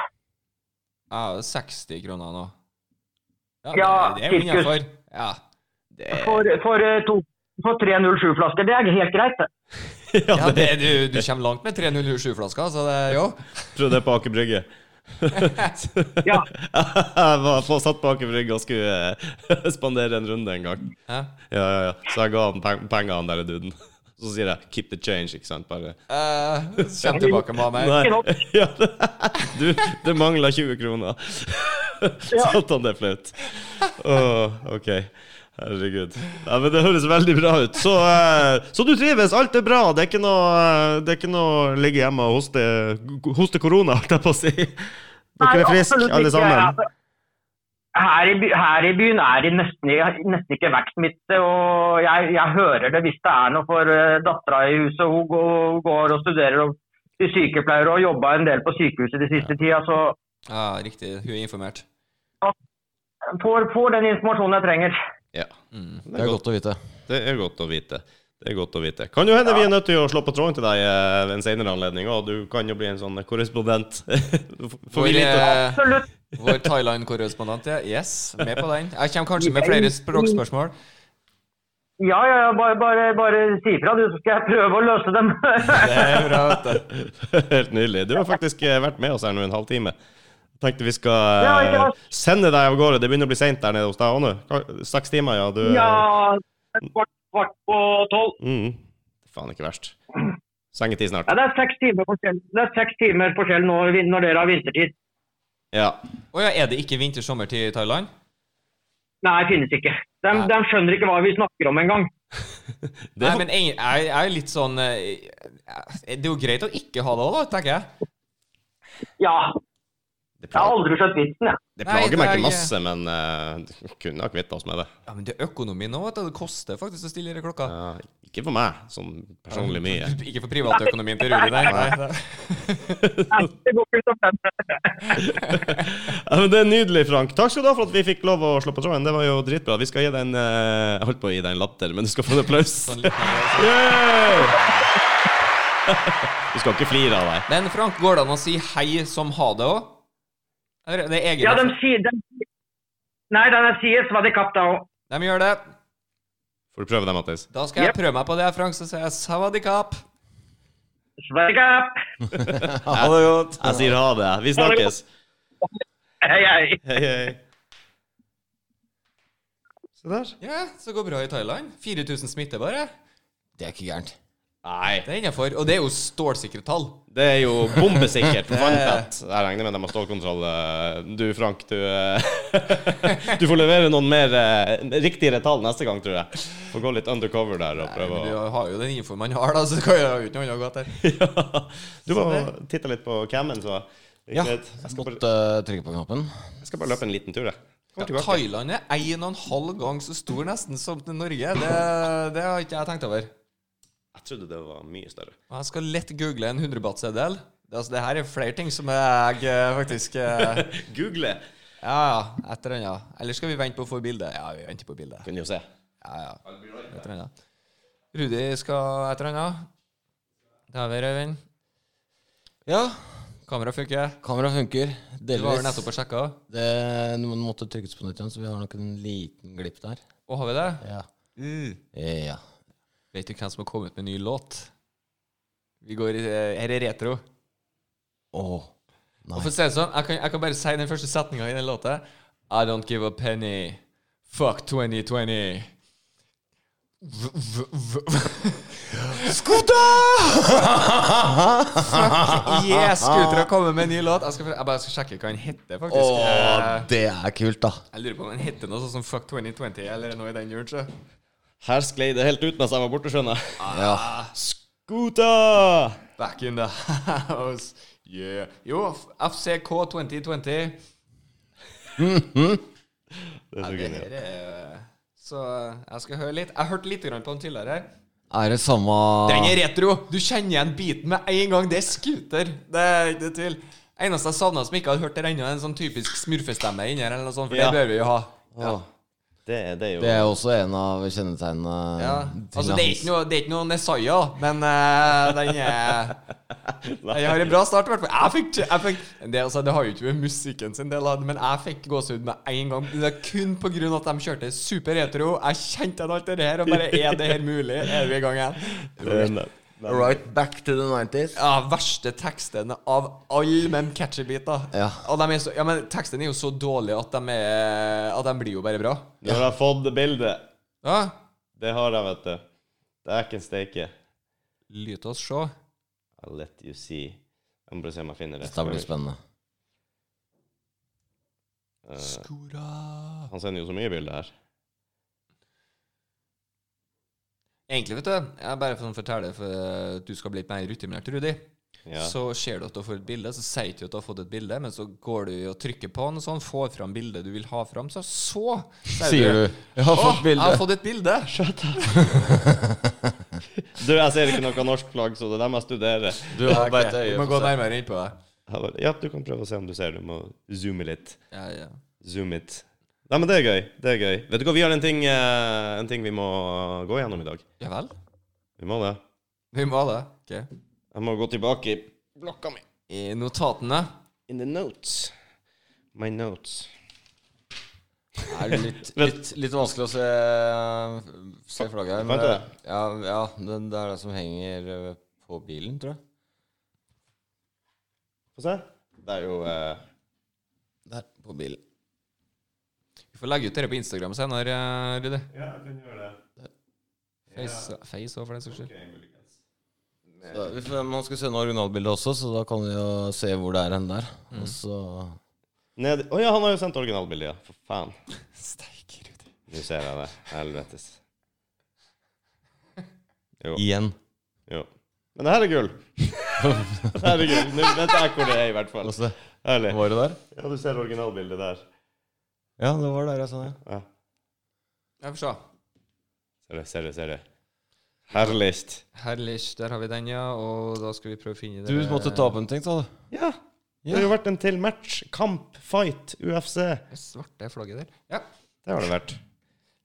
S2: Ja, det er 60 kroner nå.
S4: Ja,
S2: det, det er jo
S4: sirkus.
S2: innenfor. Ja.
S4: For, for, eh, to, for tre 07-flasker. Det er helt greit, det.
S2: Ja, det, du, du kommer langt med 307-flasker, så det jo.
S1: Tror det er på Aker Brygge.
S4: Ja.
S1: jeg var på, satt på Aker Brygge og skulle eh, spandere en runde en gang.
S2: Hæ?
S1: Ja, ja, ja. Så jeg ga han peng pengene, han der duden. Så sier jeg 'keep the change', ikke sant? Bare
S2: Eh, Kjem tilbake med han her.
S1: Nei.
S4: Ikke nok.
S1: Ja, det, du, det mangler 20 kroner.
S4: Ja.
S1: Satt han det flaut? Åh, ok. Herregud. Nei, men det høres veldig bra ut. Så, eh, så du trives, alt er bra. Det er ikke noe, eh, det er ikke noe å ligge hjemme og hoste, hoste korona, holdt jeg på å si. Dere er friske,
S4: absolutt
S1: alle
S4: ikke.
S1: sammen.
S4: Altså, Her i, by, her i byen er det nesten, nesten ikke vektsmitte, og jeg, jeg hører det hvis det er noe for eh, dattera i huset. Hun går, går og studerer og til sykepleier og jobba en del på sykehuset de siste tida. Så
S2: Ja, riktig. Hun er informert.
S4: får, får den informasjonen jeg trenger.
S1: Ja,
S2: Mm.
S1: det
S3: Det
S1: er
S3: er
S1: godt,
S3: godt å vite.
S1: det er godt å vite. Det er godt å vite. Kan jo hende vi er nødt til å slå på tråden til deg eh, ved en senere anledning, og du kan jo bli en sånn korrespondent. Får
S2: Vår,
S1: vi lite
S2: eh,
S4: Absolutt.
S2: vår Thailand-korrespondent, ja. Yes, med på den. Jeg kommer kanskje med flere språkspørsmål.
S4: Ja, ja, ja, bare, bare, bare si ifra, du, så skal jeg prøve å løse dem.
S2: Det er bra, vet du.
S1: Helt nydelig. Du har faktisk eh, vært med oss her nå en halvtime. Tenkte vi skal
S4: Ja, ikke
S1: eh,
S4: sant?
S1: sende deg av gårde. Det begynner å bli seint der nede hos deg òg nå. Ka- Seks timer, ja. Du eh,
S4: ja, kvart, kvart på tolv.
S1: mm, Faen, ikke verst. Sengetid snart.
S4: Ja, det er seks timer forskjell, det er seks timer forskjell nå, når dere har vintertid.
S1: Ja.
S2: Å ja, er det ikke vinter-sommertid i Thailand?
S4: Nei, finnes ikke. De,
S2: Nei.
S4: de skjønner ikke hva vi snakker om engang.
S1: Det,
S2: Nei, men jeg, jeg, jeg er litt sånn eh, Det er jo greit å ikke ha det òg, da, tenker jeg.
S4: Ja,
S1: det
S4: jeg har
S1: plager,
S4: aldri skjønt vitsen, jeg.
S1: det
S2: Nei,
S1: plager meg
S2: det er-
S1: ikke masse, men eh, kunne ha kvitta oss med det.
S2: Ja, Men det er økonomi nå, vet du. Det koster faktisk å stille i klokka.
S1: Ja, ikke for meg, sånn personlig mye.
S2: Ikke for privatøkonomien til Rudi, nei. nei. nei.
S4: Nei, det går ikke så fint.
S1: Ja, men det er nydelig, Frank. Takk skal du ha for at vi fikk lov å slå på tråden. Det var jo dritbra. Vi skal gi deg en eh, Jeg holdt på å gi deg en latter, men du skal få en applaus.
S2: Sånn litt mer sånn.
S1: Yeah! Du skal ikke flire av deg.
S2: Men Frank, går det an å si hei som ha det òg? Eller det er egen
S4: Ja, de sier de, Nei, de sier svadikapp da òg.
S2: De gjør det.
S1: Får du prøve det, Mattis?
S2: Da skal jeg
S4: Yep.
S2: prøve meg på det, Frank, så sier jeg savadikap.
S4: Svadikapp!
S3: Ha det godt.
S1: Jeg sier ha det. Vi snakkes.
S4: Hei, hei.
S1: Hei, hei. Se der.
S2: Ja, så går bra i Thailand. 4000 smitte bare.
S3: Det er ikke gærent.
S1: Nei,
S2: Det er innafor. Og det er jo stålsikre tall.
S1: det er jo bombesikkert. Vanntett. Jeg regner med de har stålkontroll. Du, Frank, du eh, Du får levere noen mer eh, riktigere tall neste gang, tror jeg. Får gå litt undercover der og prøve
S2: Men
S1: å
S2: Du har jo den infoen man har, da, så kan jeg jo ikke noe annet godt her.
S1: ja. Du må titte litt på cammen, så.
S3: Ja,
S1: Jeg
S3: jeg
S1: skal, bare,
S3: måtte eh, trykke på knappen.
S1: jeg skal bare løpe en liten tur, jeg. Kommer
S2: Ja,
S1: tilbake.
S2: Thailand er en og en halv gang så stor nesten som til Norge. Det, det har ikke jeg tenkt over.
S1: Jeg trodde det var mye større.
S2: Og jeg skal lett google en 100 baht-seddel. Det, altså, det her er flere ting som jeg eh, faktisk eh,
S1: Google!
S2: Ja, ja. Et eller annet. Eller skal vi vente på å få bilde? Ja, vi venter på bilde.
S1: Kunne jo se.
S2: Ja, ja. Et eller annet. Rudi skal et eller annet. Det har vi, Røyvind.
S3: Ja,
S2: Kamera funker.
S3: kamera funker.
S2: Du var jo
S3: Delvis.
S2: nettopp og sjekka.
S3: Det den måtte trykkes på nytt igjen, så vi har nok en liten glipp der.
S2: Å, har vi det?
S3: Ja.
S2: Mm.
S3: ja.
S2: Vet du hvem som har kommet med ny låt? Vi går i, Her er retro.
S3: Åh.
S2: Og for å si det sånn, jeg kan, jeg kan bare si den første setninga i den låta. I don't give a penny. Fuck 2020. V, v, v. Yes, Scooter har kommet med en ny låt. Jeg, skal, jeg bare skal sjekke hva den heter, faktisk.
S3: Åh,
S2: Eh,
S3: det er kult, da.
S2: Jeg lurer på om den heter noe sånn som Fuck 2020 eller noe i den duren. så.
S1: Her sklei det helt ut mens jeg var borte, skjønner jeg.
S3: Ja.
S1: Guta!
S2: Ah, Back in the house. Yeah. Jo, F- FCK 2020.
S1: Det er
S2: Ja,
S1: så
S2: det
S1: genialt.
S2: her er eh, Så jeg skal høre litt. Jeg hørte litt grann på den tidligere her.
S3: Er det samme
S1: Ah.
S2: Den er retro! Du kjenner igjen beaten med en gang. Det er scooter. Det er ikke tvil. Eneste jeg savna som ikke hadde hørt det ennå, er en sånn typisk smurfestemme inni her, eller noe sånt, for
S1: Ja.
S2: det bør vi jo ha.
S3: Åh,
S1: Det, er- det er jo
S3: Det er også en av kjennetegnene
S2: Ja.
S3: til
S2: Altså, det er ikke
S3: hans-
S2: noe, det er ikke noe Nesaya, men eh, den er Jeg har en bra start, i hvert fall. Jeg fikk, jeg fikk det, altså, det har jo ikke med musikken sin del, av det, men jeg fikk gåsehud med en gang. Det er kun på grunn av at de kjørte super retro. Jeg kjente igjen alt det der, og bare Er det her mulig? Er vi i gang igjen?
S1: Det er ne- ne-
S3: Right back to the 90s.
S2: Ja, verste tekstene av alle med catcher-biter.
S3: Ja.
S2: Og de er så, ja, men tekstene er jo så dårlige at de, er, at de blir jo bare bra.
S1: Nå har jeg fått bildet.
S2: Ja.
S1: Det har jeg, vet du. Det er ikke en steike.
S2: Lyt oss se.
S1: I'll let you see. Jeg må bare se om jeg finner det.
S3: Dette blir spennende.
S1: Eh,
S2: Skora
S1: han sender jo så mye bilder her.
S2: Egentlig, vet du, jeg bare for å fortelle for at du skal bli litt mer rutinert, Rudi.
S1: Ja.
S2: Så ser du at du får et bilde, så sier du ikke at du har fått et bilde, men så går du og trykker på den, og sånn, får fram bildet du vil ha fram, så så
S3: Sier du 'Jeg har
S2: Å, jeg
S3: fått
S2: har
S3: bilde'?
S2: fått et bilde!
S1: Du, jeg ser ikke noe norsk flagg, så det er dem jeg studerer.
S3: Du har bare et
S2: Ok,
S3: øye
S2: Du må
S3: på
S2: gå
S3: seg.
S2: nærmere innpå det.
S1: Jeg bare, Ja, du kan prøve å se om du ser. Du må zoome litt.
S2: Ja, ja.
S1: Zoom it. Nei, men det er gøy. Det er gøy. Vet du hva, vi har en ting, eh, en ting vi må gå gjennom i dag.
S2: ja vel?
S1: Vi må det.
S2: Vi må det. Ok.
S1: Jeg må gå tilbake i blokka mi.
S2: I notatene
S1: In the notes. My notes.
S3: Det er litt, litt, litt vanskelig å se, se flagget her.
S1: Fant
S3: Men
S1: du
S3: det,
S1: det?
S3: ja, ja det, det er det som henger eh, på bilen, tror jeg.
S1: Få se. Det er jo eh,
S3: Der, på bilen.
S2: Vi får legge ut dette på Instagram senere, eh, Rudi.
S1: Ja, jeg kan gjøre det.
S2: Face face også for den saks skyld.
S3: Så, vi får- man skal sende originalbildet også, så da kan vi jo se hvor det er hen der. Og så
S1: Ned Å ja, han har jo sendt originalbildet, ja. For faen.
S2: Steike, Rudi.
S1: Nå ser jeg det. Helvetes. Jo.
S3: igjen.
S1: jo. Men det her er gull. det her er gull. Nå vet jeg hvor det er, i hvert fall.
S3: Og se,
S1: Ærlig.
S3: Var det der?
S1: Ja, du ser originalbildet der.
S3: Ja, det var der altså. jeg sa det.
S1: Ja.
S2: Jeg får se.
S1: Ser du, ser du, ser du. Herligst.
S2: Herlig, der har vi den, ja. Og da skal vi prøve å finne
S3: Du
S2: dere-
S3: måtte ta opp en ting, sa du?
S1: Ja. Det har jo vært en til match. Kamp, fight, UFC.
S2: Det svarte flagget der. Ja.
S1: Det har det vært.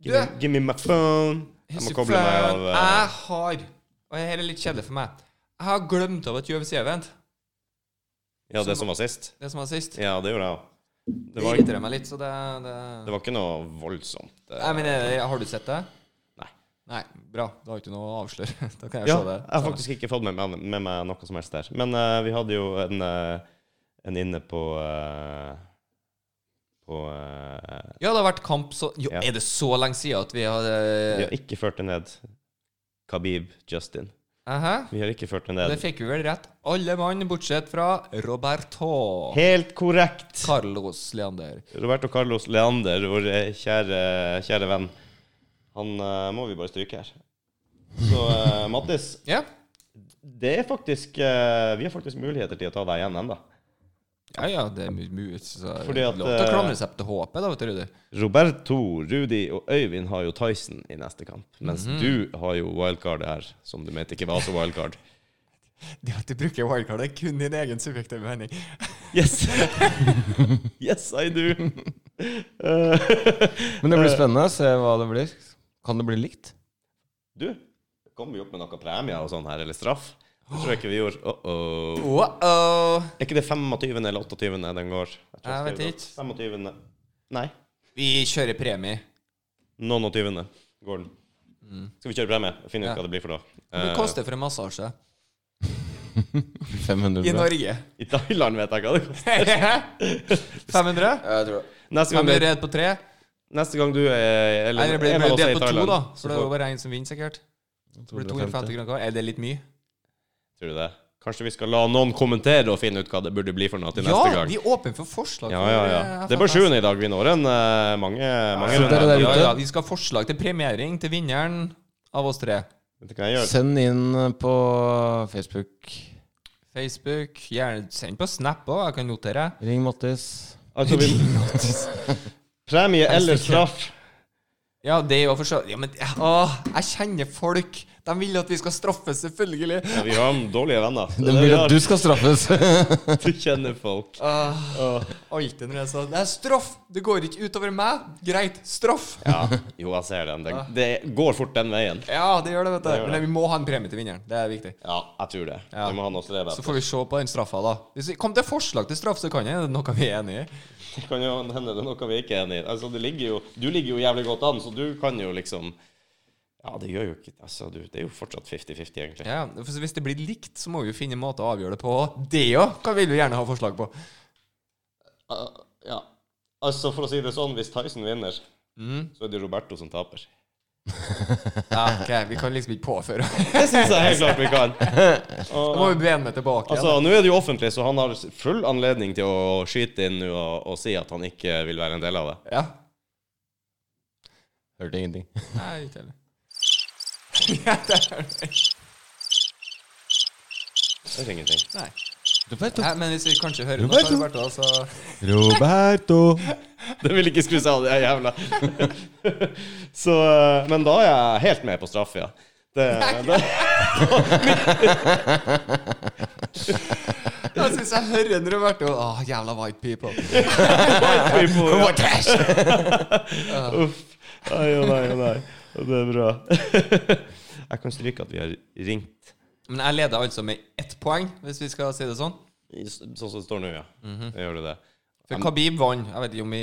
S2: Du,
S1: Give, me, give me my phone. Jeg må koble meg av eh,
S2: Jeg har Og dette er litt kjedelig for meg. Jeg har glemt av et UFC-event.
S1: Ja, det som var sist.
S2: Det som var sist.
S1: Ja, det gjorde jeg òg. Det,
S2: Det
S1: var-
S2: irriterer meg litt, så det, det...
S1: det var ikke noe voldsomt. eh.
S2: Nei, men eh, Har du sett det?
S1: Nei.
S2: Nei, Bra. Da har ikke noe å avsløre. Da kan jeg
S1: Ja,
S2: se det.
S1: jeg har faktisk ikke fått med, meg- med meg noe som helst der. Men eh, vi hadde jo en, eh, en inne på eh, På eh,
S2: Ja, det har vært kamp så Jo,
S1: Ja.
S2: er det så lenge siden at vi har
S1: Vi
S2: eh,
S1: har ikke ført det ned. Khabib Justin.
S2: aha?
S1: Vi har ikke ført det
S2: Det
S1: ned.
S2: fikk vi vel rett, alle mann, bortsett fra Roberto.
S1: Helt korrekt!
S2: Carlos Leander.
S1: Roberto Carlos Leander, vår eh, kjære, kjære venn. Han eh, må vi bare stryke her. Så eh, Mattis,
S2: Ja.
S1: det er faktisk eh, Vi har faktisk muligheter til å ta deg igjen ennå.
S2: Ja, ja, det er mye så
S1: Fordi at,
S2: Lov til å
S1: eh,
S2: klamre seg til håpet, da, vet du, Rudi.
S1: Roberto, Rudi og Øyvind har jo Tyson i neste kamp. Mens
S2: Mhm.
S1: du har jo wildcard her, som du mente ikke var så wildcard.
S2: Det at du bruker wildcard, er kun din egen subjektive mening.
S1: Yes! yes, I do! Eh,
S3: Men det blir spennende å se hva det blir. Kan det bli likt?
S1: du, kommer vi opp med noe premie og sånn her, eller straff? Det tror jeg ikke vi gjorde. Uh -oh.
S2: Wow.
S1: Er ikke det 25. eller 28. den går? Jeg,
S2: Jeg vet
S1: det er
S2: ikke.
S1: 25. Nei.
S2: Vi kjører premie.
S1: Noen og 20. går den. Skal vi kjøre premie? Finne ut
S2: Mm. Ja.
S1: hva det blir for noe.
S2: Hva
S1: Eh,
S2: koster for en massasje
S3: 500
S2: i Norge?
S1: Eh, I Thailand vet jeg hva det koster.
S2: 500?
S3: Jeg tror det.
S1: Neste gang,
S2: 500
S1: du-
S2: er på tre?
S1: neste gang du er Eller
S2: Eller blir
S1: en
S2: det
S1: av
S2: blir
S1: oss er
S2: delt
S1: i
S2: på to,
S1: Thailand,
S2: da?
S1: så
S2: For det er jo
S1: får-
S2: bare én som vinner, sikkert.
S3: Jeg
S2: Det
S3: tror
S2: blir
S3: det blir
S2: 250
S3: 50.
S2: kroner hver. Er det litt mye?
S1: Tror du det? Kanskje vi skal la noen kommentere og finne ut hva det burde bli for noe til neste
S2: Ja,
S1: gang?
S2: vi er åpne for forslag.
S1: Ja,
S2: for,
S1: ja,
S2: eh,
S1: ja. Det er bare
S2: FFS.
S1: sjuende i dag. Vi når en eh, mange, mange
S3: så dere
S1: runder.
S3: der
S2: Ja,
S3: ute.
S2: ja, vi skal ha forslag til premiering til vinneren av oss tre.
S1: Det kan jeg gjøre.
S3: Send inn eh, på Facebook.
S2: Facebook, gjerne send på Snap òg, jeg kan notere.
S3: Ring Mattis.
S1: Altså, vi, premie eller straff?
S2: Ja, det er jo for så Ja, men åh, jeg kjenner folk! De vil at vi skal straffes, selvfølgelig.
S1: Ja, vi har dårlige venner. Det er
S3: Det
S1: det vi
S3: blir
S1: har.
S3: at du skal straffes.
S1: Du kjenner folk.
S2: Åh, alltid når jeg sa Det er straff! Det går ikke utover meg. Greit, straff.
S1: Ja, jo, jeg ser den. Det, det går fort den veien.
S2: Ja, det gjør det, vet du.
S1: gjør
S2: Men vi må ha en premie til vinneren. Det er viktig.
S1: Ja, jeg tror det.
S2: Ja.
S1: Du må ha noe å streve
S2: Så
S1: etter.
S2: får vi se på den straffa, da. Hvis vi kom til forslag til straff, så kan jeg. Det er noe vi er enig i.
S1: Det kan jo hende det er noe vi ikke er enig i. Altså, det ligger jo, du ligger jo jævlig godt an, så du kan jo liksom Ja, det gjør jo ikke altså, du, Det er jo fortsatt 50-50, egentlig.
S2: Ja, for Hvis det blir likt, så må vi jo finne en måte å avgjøre det på. Det òg kan vi jo gjerne ha forslag på.
S1: Uh, ja. Altså, for å si det sånn, hvis Tyson vinner,
S2: Mm.
S1: så er det Roberto som taper.
S2: Ja, ok, Vi kan liksom ikke påføre
S1: Det syns jeg helt klart vi kan.
S2: Da må vi bene meg tilbake igjen.
S1: Altså, Nå er det jo offentlig, så han har full anledning til å skyte inn nå og, og si at han ikke vil være en del av det.
S2: Ja.
S3: Hørte ingenting.
S2: Nei, ikke heller. Ja, det er det.
S1: Det er ingenting.
S2: Nei.
S3: Roberto!
S2: Nei, men hvis vi kanskje hører noe,
S3: Roberto.
S2: så, Roberto, så
S3: Roberto!
S1: Det vil ikke skru seg av, det er jævla Så, eh, Men da er jeg helt med på straff, ja. Det, det,
S2: Jeg syns jeg hører en Roberto. Åh, jævla white people.
S1: What
S2: trash!
S1: Uff. Ai og nei og nei. Og Det er bra. Jeg kan stryke at vi har ringt
S2: Men jeg leder altså med ett poeng, hvis vi skal si det sånn.
S1: i- sånn som det står nå, ja. Gjør du det?
S2: For Khabib vant. Jeg vet ikke om vi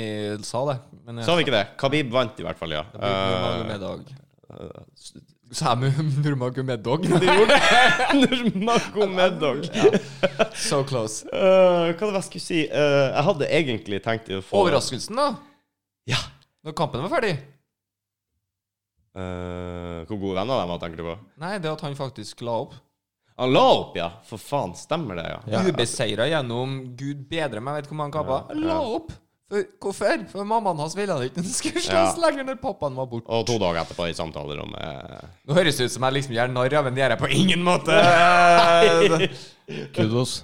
S2: sa det. Men eh,
S1: Sa vi ikke det? Khabib vant i hvert fall, ja. Eh,
S2: Nurmagomedov. Sa jeg Nurmagomedov?
S1: de gjorde det! Nurmagomedov.
S2: So close.
S1: Eh, hva var det jeg skulle si? Eh, jeg hadde egentlig tenkt å få
S2: Overraskelsen, da?
S1: Ja.
S2: Når kampen var ferdig?
S1: Eh, hvor gode venner de var, tenker du på?
S2: Nei, det at han faktisk la opp.
S1: Han la opp, ja! For faen, stemmer det, ja.
S3: Ja.
S2: Ubeseira gjennom Gud bedre meg, jeg vet ikke hvor mange kamper.
S1: Ja,
S2: La
S1: ja.
S2: opp! For, hvorfor? For mammaen hans ville han ikke den skulle
S1: Ja.
S2: slåss lenger når pappaen var borte.
S1: Og to dager etterpå i eh. samtalerommet.
S2: Nå høres det ut som jeg liksom gjør narr av, men det gjør jeg på ingen måte. ja,
S3: Kudos.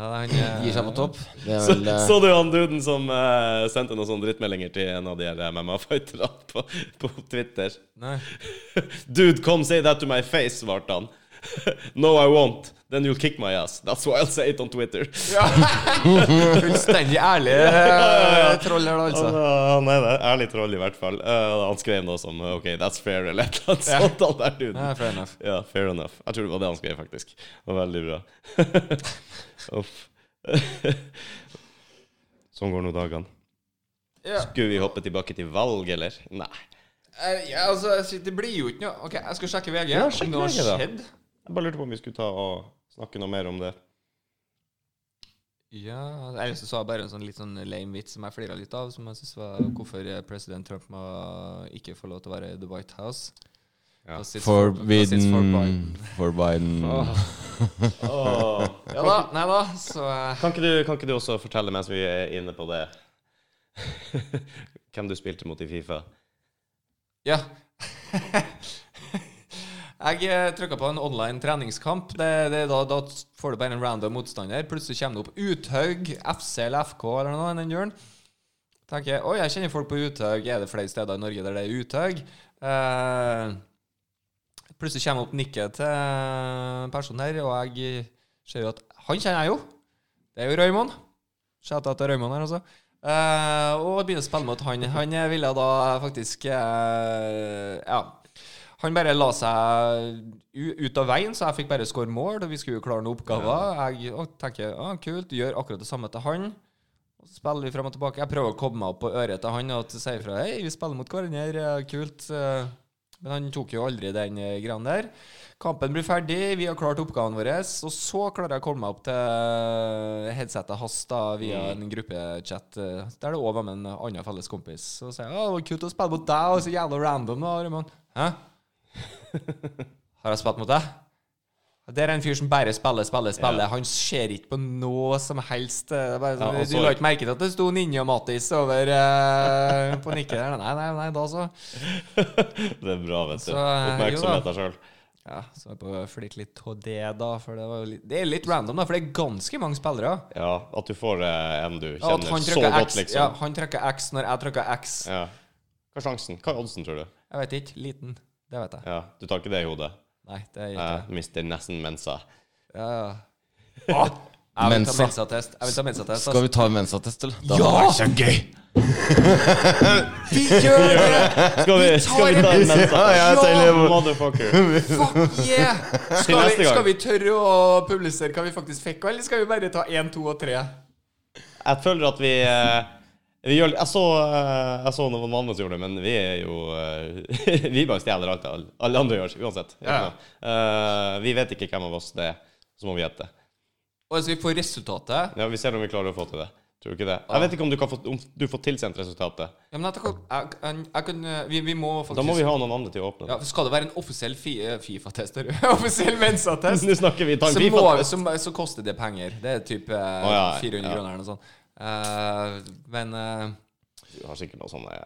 S2: han, eh,
S3: Gir seg på topp. Det er
S1: Så,
S3: vel eh,
S1: så du han duden som eh, sendte noen sånne drittmeldinger til en av de her eh, MMA-fighterne på, på Twitter?
S2: Nei.
S1: Dude, come say that to my face, svarte han. No, I won't. Then you'll kick my ass. That's why I'll say it on Twitter.
S2: Ja. Fullstendig ærlig eh, troll her,
S1: Han,
S2: da, altså.
S1: eh, han er det. Ærlig troll, i hvert fall. Eh, han skrev noe som OK, that's fair, eller et eller annet sånt. Han der duden.
S2: Ja, fair enough.
S1: Ja, fair enough. Jeg tror det var det han skrev, faktisk. Det var veldig bra. Uff. sånn går nå dagene.
S2: Ja.
S1: Skulle vi hoppe tilbake til valg, eller? Nei.
S2: Eh, ja, altså, jeg sier, det blir jo ikke noe OK, jeg skal sjekke VG.
S1: Ja, sjekk
S2: om noe har
S1: VG da.
S2: skjedd.
S1: Jeg bare lurte på om vi skulle ta og snakke noe mer om det.
S2: Ja, Eller så sa jeg bare en sånn litt sånn lame vits som jeg flira litt av, som jeg synes var hvorfor eh, president Trump må ikke få lov til å være i The White House.
S1: Ja.
S2: Da sitter folk- da sitter folk bare-
S3: Forbidden For Biden.
S2: Ja da, nei da, så eh,
S1: Kan, ikke du, kan ikke du også fortelle mens vi er inne på det, hvem du spilte mot i Fifa?
S2: Ja. Jeg trykka på en online treningskamp. Det, det, da, da får du bare en random motstander. Plutselig kommer det opp Uthaug, FC eller FK eller noe. Den gjør Tenker jeg, Oi, jeg kjenner folk på Uthaug. Er det flere steder i Norge der det er Uthaug? Eh, plutselig kommer opp nikket til en person her, og jeg ser jo at han kjenner jeg jo. Det er jo Raymond. Shout-out til Raymond her, altså. Eh, og begynner å spille mot han. Han ville da faktisk eh, Ja. Han bare la seg u- ut av veien, så jeg fikk bare score mål. Og vi skulle jo klare noen oppgaver. Jeg og tenker ah, kult, gjør akkurat det samme til han. Og så spiller vi frem og tilbake. Jeg prøver å komme meg opp på øret til han og til å si ifra hei, vi spiller mot hverandre, eh, kult. eh. Men han tok jo aldri den eh, greia der. Kampen blir ferdig, vi har klart oppgaven vår, og så klarer jeg å komme meg opp til headsetet hans da, via
S1: Mm.
S2: en gruppechat eh, der det òg var med en annen felles kompis. Så sier jeg «Å, det var kult å spille mot deg, og så jævla random, da, Raymond. Hæ? Har jeg spilt mot deg? Det er en fyr som bare spiller, spiller, spiller. Han ser ikke på noe som helst. Det er Bare,
S1: Ja, han
S2: sånn,
S1: så
S2: du la
S1: ikke-
S2: ikke merke til at det sto Ninja Mattis over eh, på nikket der? Nei, nei, nei, da så.
S1: Det er bra, vet du.
S2: Så, eh,
S1: Oppmerksomhet
S2: jo
S1: deg sjøl.
S2: Ja, så er jeg på å flirte litt av det, da. For det, var jo litt, det er litt random, da, for det er ganske mange spillere.
S1: Ja, at du får eh, en du
S2: Ja, at
S1: kjenner
S2: han
S1: så
S2: trykker
S1: godt,
S2: X, ja,
S1: liksom.
S2: han trykker X når jeg trykker X.
S1: Ja. Hva er sjansen? Hva er oddsen, tror du?
S2: Jeg vet ikke. Liten. Det vet jeg.
S1: Ja, Du tar ikke det i hodet?
S2: Nei, det er ikke
S1: Jeg mister nesten mensa.
S2: ja, ja. Åh, Jeg vil ta
S3: Mensa.
S2: mensatest. Jeg vil ta mensatest.
S3: Skal vi ta en mensattest, eller?
S2: Ja!
S3: så gøy!
S2: vi gjør det!
S1: Skal vi, skal vi ta en mensa?
S3: Ja, jeg
S2: Ja!
S3: teller-
S1: Motherfucker.
S2: Fuck yeah!
S1: Til
S2: Skal
S1: neste
S2: vi,
S1: gang.
S2: skal vi tørre å publisere hva vi faktisk fikk, eller skal vi bare ta én, to og tre?
S1: Jeg føler at vi, eh, vi gjør, jeg, så, eh, jeg så noen andre som gjorde det, men vi er jo eh, Vi bare stjeler alt alle- alle andre gjør, uansett.
S2: Ja.
S1: Eh, vi vet ikke hvem av oss det er, så må vi gjette.
S2: Og så vi får resultatet.
S1: Ja, vi ser om vi klarer å få til det. Tror du ikke det? Jeg vet ikke om du, kan få, om du får tilsendt resultatet.
S2: Ja, men jeg, jeg, jeg, jeg kan eh, vi, vi må faktisk
S1: Da må vi ha noen andre til å åpne.
S2: ja, Skal det være en offisiell fi, eh, Fifa-test? eller? offisiell mensattest?
S1: Nå snakker vi. Ta en
S2: så,
S1: pipa.
S2: må, så, så koster det penger. Det er typ eh,
S1: ja,
S2: 400
S1: ja.
S2: kroner eller noe sånt. Eh, men eh,
S1: Du har sikkert noen sånne,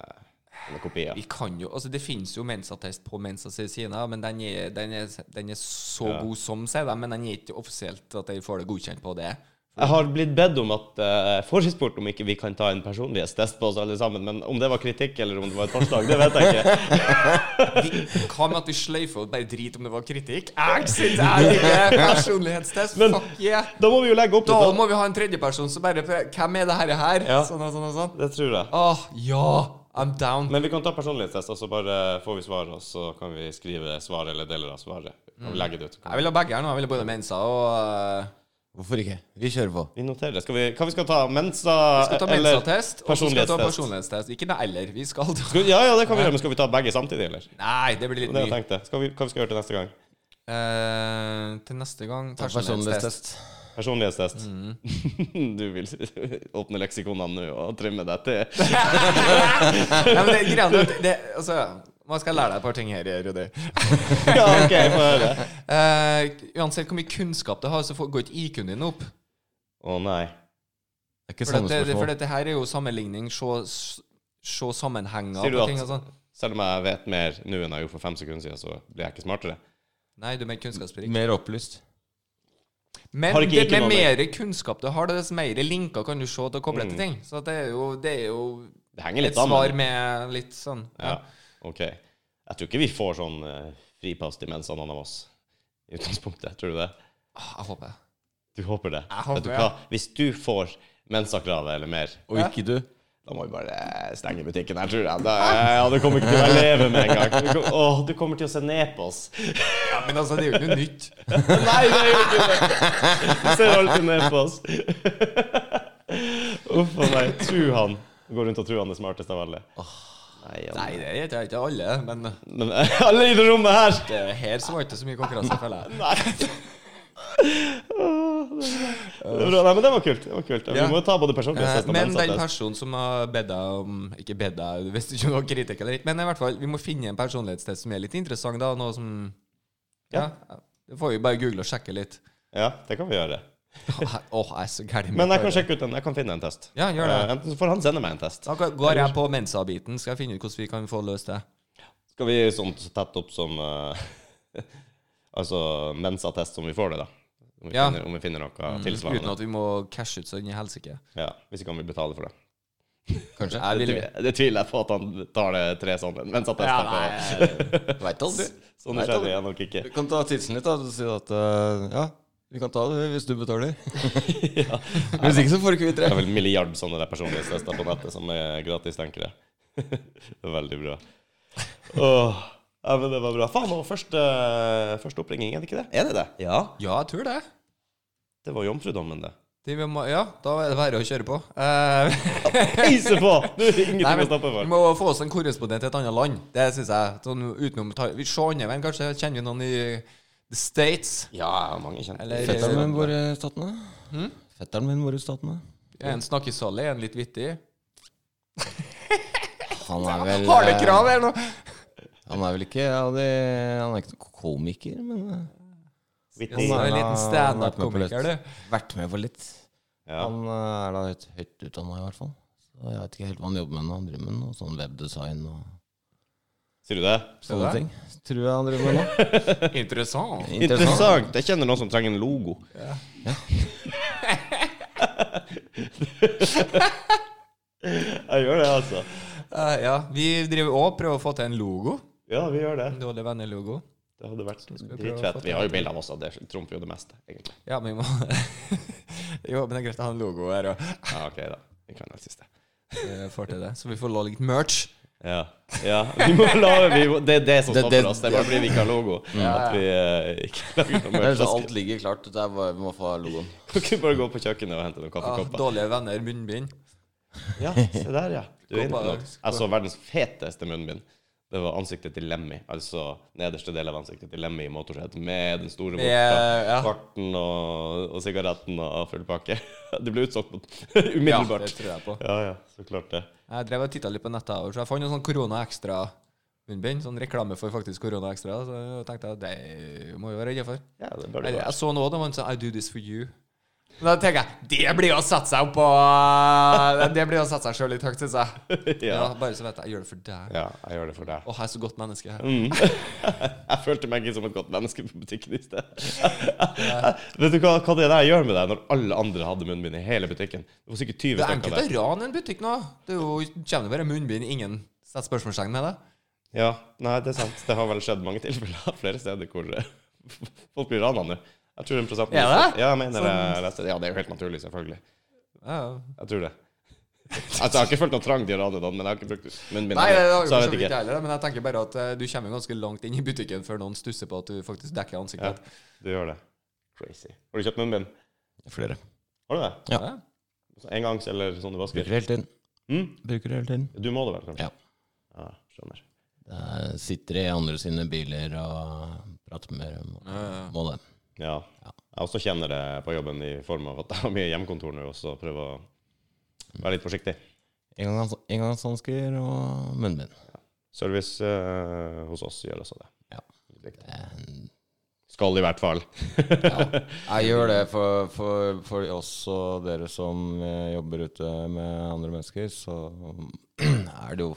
S1: sånne kopier.
S2: vi kan jo Altså, det finnes jo mensattest på Mensa Cecina, men den er, den er, den er så god som, sier de, men den er ikke offisielt at de får det godkjent på det.
S1: Jeg har blitt bedt om at uh, forespurt om ikke vi kan ta en personlighetstest på oss alle sammen, men om det var kritikk eller om det var et forslag, det vet jeg ikke.
S2: Vi, hva med at vi sløyfer og bare driter om det var kritikk? Jeg syns jeg liker personlighetstest!
S1: Men-
S2: Fuck yeah!
S1: Da må vi jo legge opp
S2: Da
S1: til det.
S2: må vi ha en tredjeperson som bare prøver Hvem er det her? her? Sånn og sånn og sånn.
S1: Det tror jeg.
S2: Åh, ja! I'm down.
S1: Men vi kan ta personlighetstest, og så bare får vi svar, og så kan vi skrive svaret eller deler av svaret.
S2: Mm.
S1: Og legge det ut.
S2: Jeg vil ha begge her nå. Jeg vil ha både Mensa og eh,
S3: Hvorfor ikke? Vi kjører på.
S1: Vi noterer det. Skal vi, hva vi skal ta? Mensa,
S2: skal ta
S1: eller
S2: Mensa-test. Og så skal vi ta personlighetstest. Ikke noe eller. Vi skal ta
S1: Skal- Ja, ja, det kan vi gjøre, men skal vi ta begge samtidig, eller? Det
S2: Nei, det blir litt
S1: var det jeg
S2: mye.
S1: tenkte. Skal vi, hva vi skal gjøre til neste gang?
S2: Eh, til neste gang personlighetstest.
S3: Personlighetstest.
S1: Personlighetstest.
S2: Mm.
S1: du vil åpne leksikonene nå og trimme deg til
S2: Nei, men det, er greia at det, altså, man skal lære deg et par ting her, Rudi.
S1: Ja, OK, få høre.
S2: Eh, uansett hvor mye kunnskap du har, så får- går ikke IQ-en din opp.
S1: Å nei.
S3: Det er ikke
S2: For,
S3: samme
S2: dette, for
S3: spørsmål.
S2: dette her er jo sammenligning, se, se sammenhenger
S1: Sier du
S2: på
S1: at-
S2: ting og sånn.
S1: Selv om jeg vet mer nå enn jeg gjorde for fem sekunder siden, så blir jeg ikke smartere.
S2: Nei, du er mer kunnskapsrik.
S3: Mer opplyst.
S2: Men
S1: Har ikke
S2: det,
S1: IQ
S2: med
S1: noe
S2: mer kunnskap du har, dess mer linker kan du se til å koble til ting. Så det er jo, det er jo
S1: Mm. Det henger
S2: et
S1: litt sammen.
S2: svar med litt sånn
S1: Ja, ok. Jeg tror ikke vi får sånn eh, fripass til mens noen av oss. I utgangspunktet, tror du det?
S2: Ah, Jeg håper det.
S1: Du håper det?
S2: Jeg håper
S1: Vet du
S2: det.
S1: hva? Hvis du får mensakravet eller mer,
S3: Og ikke du.
S1: da må vi bare stenge butikken her, tror jeg. Da, ja, du kommer ikke til å leve med en gang. Du, kom- åh, du kommer til å se ned på oss.
S2: Ja, men altså, det er jo ikke noe nytt.
S1: Nei, det gjør ikke det. Du ser alltid ned på oss. Uff a meg. Tru han. Går rundt og tror han er smartest av alle. Nei, ja.
S2: Nei, det heter jeg ikke alle, men
S1: Men alle i det rommet her
S2: det her så var det ikke så mye konkurranse, føler jeg.
S1: Nei. Det var bra. Nei, men det var kult. Det var kult. Vi
S2: Ja.
S1: må ta både
S2: Eh,
S1: personlighetstest og
S2: Men den
S1: mensattest.
S2: personen som har bedt deg om Ikke bedt deg, du visste ikke om det var kritikk eller ikke, men i hvert fall, vi må finne en personlighetstest som er litt interessant, da, og noe som Ja. Det får vi bare google og sjekke litt.
S1: Ja, det kan vi gjøre.
S2: Åh, jeg- åh, jeg er så gæren.
S1: Men jeg kan sjekke ut en, jeg kan finne en test.
S2: Ja, gjør det.
S1: Eh, Enten så får han sende meg en test.
S2: Da går jeg på Mensa-biten. Skal jeg finne ut hvordan vi kan få løst det?
S1: Skal vi sånn tett opp som eh, Altså mensattest som vi får det, da. Om vi,
S2: Ja. Mm,
S1: finner, om vi finner noe
S2: Uten
S1: tilsvarende.
S2: at vi må cashe ut så inn i helsike.
S1: Ja, Hvis ikke han vil betale for det.
S2: Kanskje. Jeg vil
S1: Det, det tviler jeg på at han tar det tre sånne
S2: Ja,
S1: mensattester
S2: nei,
S1: på.
S3: Veit aldri.
S1: Sånn
S3: Nei,
S1: skjer det nok ikke.
S3: Du kan ta tidsen litt, da. Du sier at eh, ja, vi kan ta det hvis du betaler. Hvis ikke, så får du ikke vite
S1: Det er
S3: det.
S1: vel en milliard sånne der personlighetstester på nettet som er gratis, tenker jeg. det er veldig bra. Åh, ja, men det var bra. Faen, det var første, første oppringning, er det ikke det? Er det det? Ja.
S2: Ja, jeg tror det.
S1: Det var jomfrudommen, det.
S2: det vi må, ja, da er det bare å kjøre på. Eh,
S1: Peise på! Du, ingenting
S2: Nei,
S1: å stoppe for.
S2: men Vi må få oss en korrespondent til et annet land. Det syns jeg. Sånn utenom ta- Vi ser andre veien, kanskje. Kjenner vi noen i The States?
S1: Ja, mange kjente.
S2: Eller-
S3: Fetteren min bor i Statene.
S2: Hm?
S3: Fetteren min bor i Statene.
S2: En snakkesalig, en litt vittig.
S3: Han er vel eh,
S2: Har det krav her nå?
S3: Han er vel ikke av de Han er ikke noen komiker, men eh,
S1: Vittig.
S2: Så
S3: Nei,
S2: En
S3: nei,
S2: liten
S3: han har vært med på
S2: standup-komiker, du.
S3: litt. vært med på litt.
S1: Ja.
S3: Han eh, er da høyt, høyt utdanna, i hvert fall. Så jeg vet ikke helt hva han jobber med nå. Han driver med noe sånn webdesign og
S1: Sier du det?
S3: sånne
S2: det?
S3: ting. Tror jeg han driver med nå.
S2: Interessant.
S1: Interessant. Jeg kjenner noen som trenger en logo. jeg gjør det, altså.
S2: Eh, ja, vi driver òg prøver å få til en logo.
S1: Ja, vi gjør det.
S2: En dårlig vennelogo.
S1: Det hadde vært
S2: vi prøve å få
S1: dritfett. Vi har jo bilder av oss, og det trumfer jo det meste, egentlig.
S2: Ja, men vi må Jo, men det er greit å ha en logo her òg.
S1: Ja, ok, da. Vi kan alt siste.
S2: Får til det. Så vi får låne litt merch.
S1: Ja. ja. Vi må la, vi må, det er det Mm. som
S3: Det-
S1: stopper
S3: det-
S1: oss. Det er bare fordi vi ikke har logo. At vi eh, ikke lager noe merch.
S3: alt ligger klart. Det er bare, vi må få logoen.
S1: Kan ikke bare gå på kjøkkenet og hente noen
S2: Ah,
S1: kaffekopper.
S2: dårlige venner, munnbind.
S1: Ja, se der, ja. Du er inne på
S2: Kopper.
S1: noe. Jeg så verdens feteste munnbind. Det var ansiktet til Lemmy, altså nederste del av ansiktet til Lemmy i Motorhead, med den store
S2: Med,
S1: vorta,
S2: ja.
S1: farten og, og sigaretten og full pakke. Det ble utsolgt på-
S2: Ja,
S1: umiddelbart.
S2: det tror jeg på.
S1: Ja, ja, så klart det.
S2: Jeg drev og titta litt på nettet, og så jeg fant noen sånn korona ekstra munnbind. Sånn reklame for faktisk korona ekstra. Så tenkte jeg det må vi være redde for.
S1: Ja, det bør det
S2: Jeg,
S1: være.
S2: jeg så nå da man sa sånn, I do this for you. Men da tenker jeg det blir å sette seg opp på eh, Det blir å sette seg sjøl litt høyt, syns jeg. Ja.
S1: Ja.
S2: bare så vet jeg, jeg gjør det for deg.
S1: ja, jeg gjør det for deg.
S2: Å, jeg er så godt menneske. her.
S1: Jeg følte meg ikke som et godt menneske på butikken i sted. Vet du hva, hva det der gjør med deg når alle andre hadde munnbind i hele butikken? Det var sikkert 20
S2: Det er
S1: stykker
S2: enkelt å
S1: der.
S2: rane en butikk nå. Det er jo, kommer det bare munnbind, ingen setter spørsmålstegn med det.
S1: Ja, nei, det er sant. Det har vel skjedd mange tilfeller flere steder hvor eh, folk blir rana nå. Jeg tror den prosenten
S2: Er det?
S1: Ja, jeg mener det.
S2: Sånn-
S1: leste det. Ja, det er jo helt naturlig, selvfølgelig.
S2: Ja, ja.
S1: Jeg tror det. Altså, jeg har ikke følt noe trang til å rane noen, men jeg har ikke brukt munnbind.
S2: Nei, det har
S1: så
S2: jo for
S1: jeg
S2: så
S1: vet
S2: vidt jeg
S1: ikke.
S2: heller, men jeg tenker bare at eh, du kommer ganske langt inn i butikken før noen stusser på at du faktisk dekker
S1: Ja,
S2: ansiktet.
S1: du gjør det. Crazy. Har du kjøpt munnbind?
S3: Flere.
S1: Har du det?
S3: Ja.
S2: Ja.
S1: Engangs eller sånn du vasker?
S3: Bruker det hele tiden.
S1: Mm?
S3: Bruker det hele tiden.
S1: Du må det vel, kanskje?
S3: Ja.
S1: ja skjønner.
S3: Jeg sitter i andre sine biler og prater med dem. og Må det.
S1: Ja. Jeg også kjenner det på jobben i form av at jeg har mye hjemmekontor nå, og så prøver å være litt forsiktig.
S3: Engangs- Engangshansker og munnbind.
S1: Service eh, hos oss gjør også det.
S3: Ja. Det-
S1: Skal i hvert fall.
S3: Jeg gjør det for, for, for oss og dere som eh, jobber ute med andre mennesker, så er det jo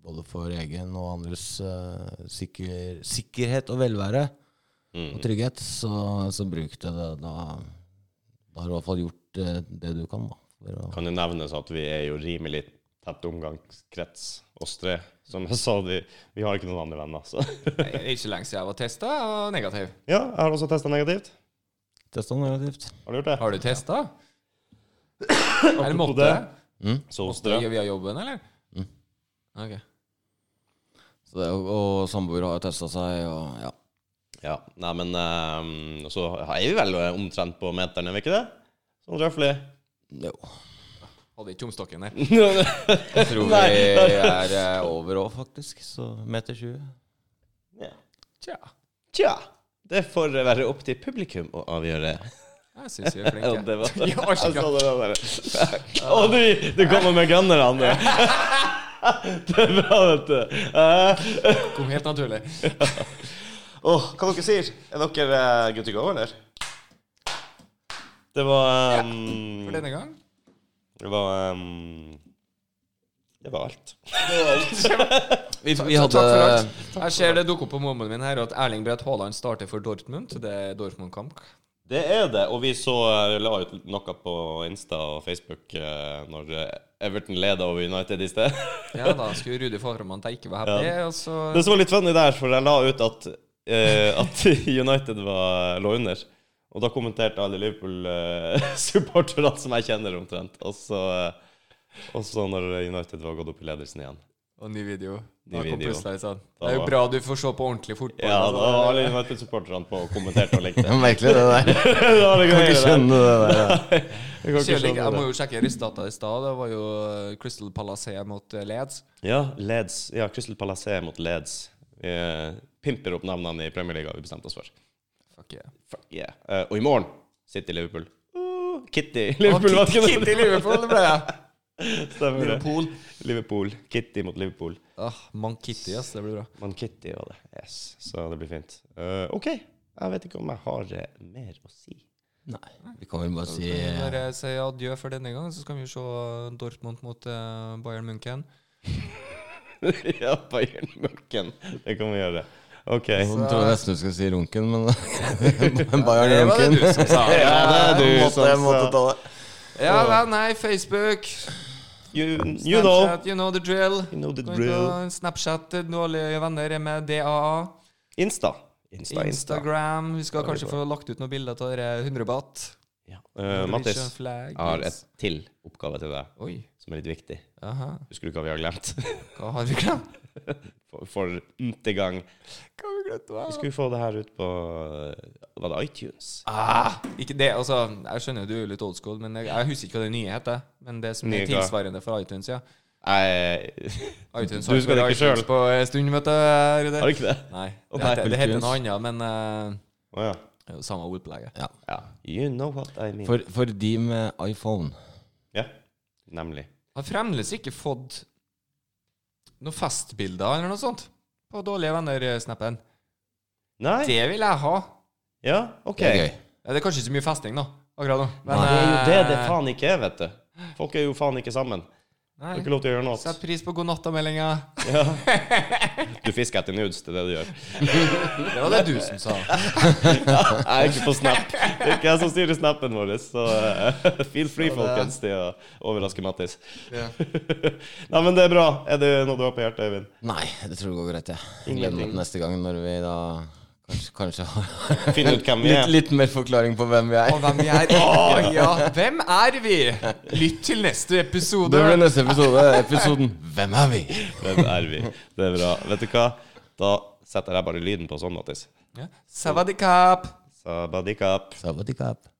S3: både for egen og andres eh, sikker, sikkerhet og velvære og trygghet, så, så bruk det. Da, da, da har du i hvert fall gjort eh, det du kan. Da, for å,
S1: Kan jo nevnes at vi er jo rimelig tett omgangskrets, oss tre. Som jeg sa, vi, vi har ikke noen andre venner. Så.
S2: Nei, Det er ikke lenge siden jeg var testa og negativ.
S1: Ja, jeg har også testa negativt.
S3: testa negativt.
S1: Har du gjort det?
S2: Har du testa? Eller
S1: Apropos
S2: måtte
S1: det. Mm.
S2: jeg?
S1: Så hos
S2: Måtte
S1: dere.
S2: jeg via jobben, eller? Ok.
S3: Så det, og og samboer har jo testa seg, og ja.
S1: Ja, nei, men ehm, så er vi vel omtrent på meteren, er vi ikke det? Sånn røffelig.
S3: Jo.
S2: Hadde ikke tomstokken der.
S3: Jeg tror vi er eh, over òg, faktisk. Så meter 20.
S1: Ja.
S2: Tja.
S1: Tja, det får være opp til publikum å avgjøre.
S2: Jeg syns vi er
S1: Ja,
S2: flinke.
S1: det var
S2: Vi har ikke-
S1: Jeg så det der. Å, du, du kommer med gunneren, du. Det er bra, vet du. Eh,
S2: Kom helt naturlig.
S1: Mm. Åh, hva dere sier? Er dere eh, good to go, eller? Det var ehm,
S2: For denne gang.
S1: Det var ehm, Det var alt.
S3: Vi, vi
S2: Så
S3: hadde
S2: Takk for alt. Jeg ser det dukker opp på momoen min her at Erling Braut Haaland starter for Dortmund. Det er Dortmund-kamp.
S1: Det er det, og vi så eh, la ut noe på Insta og Facebook eh, når eh, Everton leda over United i sted.
S2: Ja, da skulle Rudi få fram at jeg ikke var happy, og så
S1: Det som var litt funny der, for jeg la ut at, eh, at United var, lå under. Og da kommenterte alle Liverpool-supporterne som jeg kjenner omtrent. Og så, eh, og så når United var gått opp i ledelsen igjen.
S2: Og ny video.
S1: Ny
S2: Da kom
S1: video.
S2: plutselig sånn.
S1: Da
S2: Det er jo
S1: var-
S2: bra du får se på ordentlig fotball.
S1: Ja,
S2: altså.
S1: da var alle United-supporterne på og kommenterte og likte.
S3: Merkelig, det der.
S1: Det var det greier der.
S3: det der.
S1: Jeg kan ikke
S2: Kjøling, jeg må
S1: skjønne det.
S2: jo sjekke resultatene i stad. Det var jo eh, Crystal Palace mot eh, Leeds.
S1: Ja, Leeds. Ja, Crystal Palace mot Leeds. Vi eh, pimper opp navnene i Premier League, har vi bestemt oss for.
S2: Fuck yeah.
S1: Fuck yeah. Eh, og i morgen City Liverpool. Uh, Kitty Liverpool,
S2: Å,
S1: var ikke
S2: Kitty,
S1: det?
S2: Kitty Liverpool ble jeg.
S1: Stemmer det.
S2: Liverpool.
S1: Liverpool. Kitty mot Liverpool.
S2: Ah, Man Kitty, ass. Det blir bra.
S1: Men Kitty var det. Yes. Så det blir fint. Eh, OK. Jeg vet ikke om jeg har eh, mer å si.
S3: Nei, vi kan vel bare si
S2: Når jeg sier adjø for denne gang, så skal vi se Dortmund mot eh, Bayern München.
S1: ja, Bayern Mørken. Det kan vi gjøre. OK.
S3: Jeg trodde nesten du skulle si runken, men Bayern
S2: Det var det
S3: runken.
S2: du som sa.
S1: Ja, det er du
S3: måtte, jeg
S1: som
S3: måtte
S1: sa
S3: ta det.
S2: Ja, nei, nei, Facebook.
S1: you, you know.
S2: Snapchat, you know the drill.
S1: You know the
S2: Gå inn
S1: drill.
S2: på Snapchat, dårlige venner er med DAA.
S1: Insta. Insta, Insta.
S2: Instagram. Vi skal
S1: Veldig
S2: kanskje
S1: bra.
S2: få lagt ut noen bilder av dere eh, 100 baht.
S1: Ja. Eh, Mattis, jeg
S2: Flag,
S1: har
S2: yes.
S1: et til oppgave til deg
S2: Oi.
S1: som er litt viktig.
S2: Aha.
S1: Husker du hva vi har glemt?
S2: Hva har vi glemt?
S1: For, for n-te gang.
S2: Hva har vi glemt?
S1: Vi skulle få det her ut på eh, Var det iTunes?
S2: Ah, ikke det, altså, jeg skjønner du er litt old school, men jeg, jeg husker ikke hva det nye heter. Men det som
S1: Nye
S2: er
S1: hva?
S2: tilsvarende for iTunes, ja.
S1: Nei,
S2: iTunes
S1: Du husker det ikke
S2: iTunes
S1: selv.
S2: På en stund, vet du, Rune.
S1: har du ikke det?
S2: Nei.
S1: Å,
S2: Det
S1: nei,
S2: heter, det heter
S3: iTunes.
S2: noe annet, men eh,
S1: Å ja.
S2: det er jo samme ordpleie.
S1: ja. You know what I mean.
S3: For, for de med iPhone
S1: Ja, nemlig.
S2: Har fremdeles ikke fått noen festbilder eller noe sånt på Dårlige venner-snappen.
S1: Nei?
S2: Det vil jeg ha.
S1: Ja, OK.
S3: Det er gøy.
S2: Ja, det er kanskje ikke så mye festing, da. Akkurat nå. Men,
S1: Det er jo det det
S2: eh,
S1: faen ikke er, vet du. Folk er jo faen ikke sammen. Du har
S2: Nei.
S1: ikke lov til å gjøre noe.
S2: Sett pris på godnatta-meldinga.
S1: Du fisker etter nudes, det er det du gjør.
S2: Det var det du som sa.
S1: Jeg er ikke på Snap. Det er ikke jeg som styrer Snappen vår, så eh, feel free, folkens, til å overraske Mattis. Nei, men det er bra. Er det noe du har på hjertet, Øyvind?
S3: Nei, det tror jeg går greit, jeg. Jeg Gleder meg
S1: Ingenting.
S3: til neste gang, når vi da kanskje, kanskje har
S1: Finn ut hvem vi
S3: litt,
S1: er.
S3: litt mer forklaring på hvem vi
S2: Og
S3: er.
S2: hvem vi er. Å, ja. Hvem er vi? Lytt til neste episode.
S3: Det blir neste episode. Episoden 'Hvem er vi?'
S1: Hvem er vi? Det er bra. Vet du hva? Da setter jeg bare lyden på sånn, Mattis.
S2: Ja. Savadikap.
S1: Så badikap.
S3: Sabbatikap.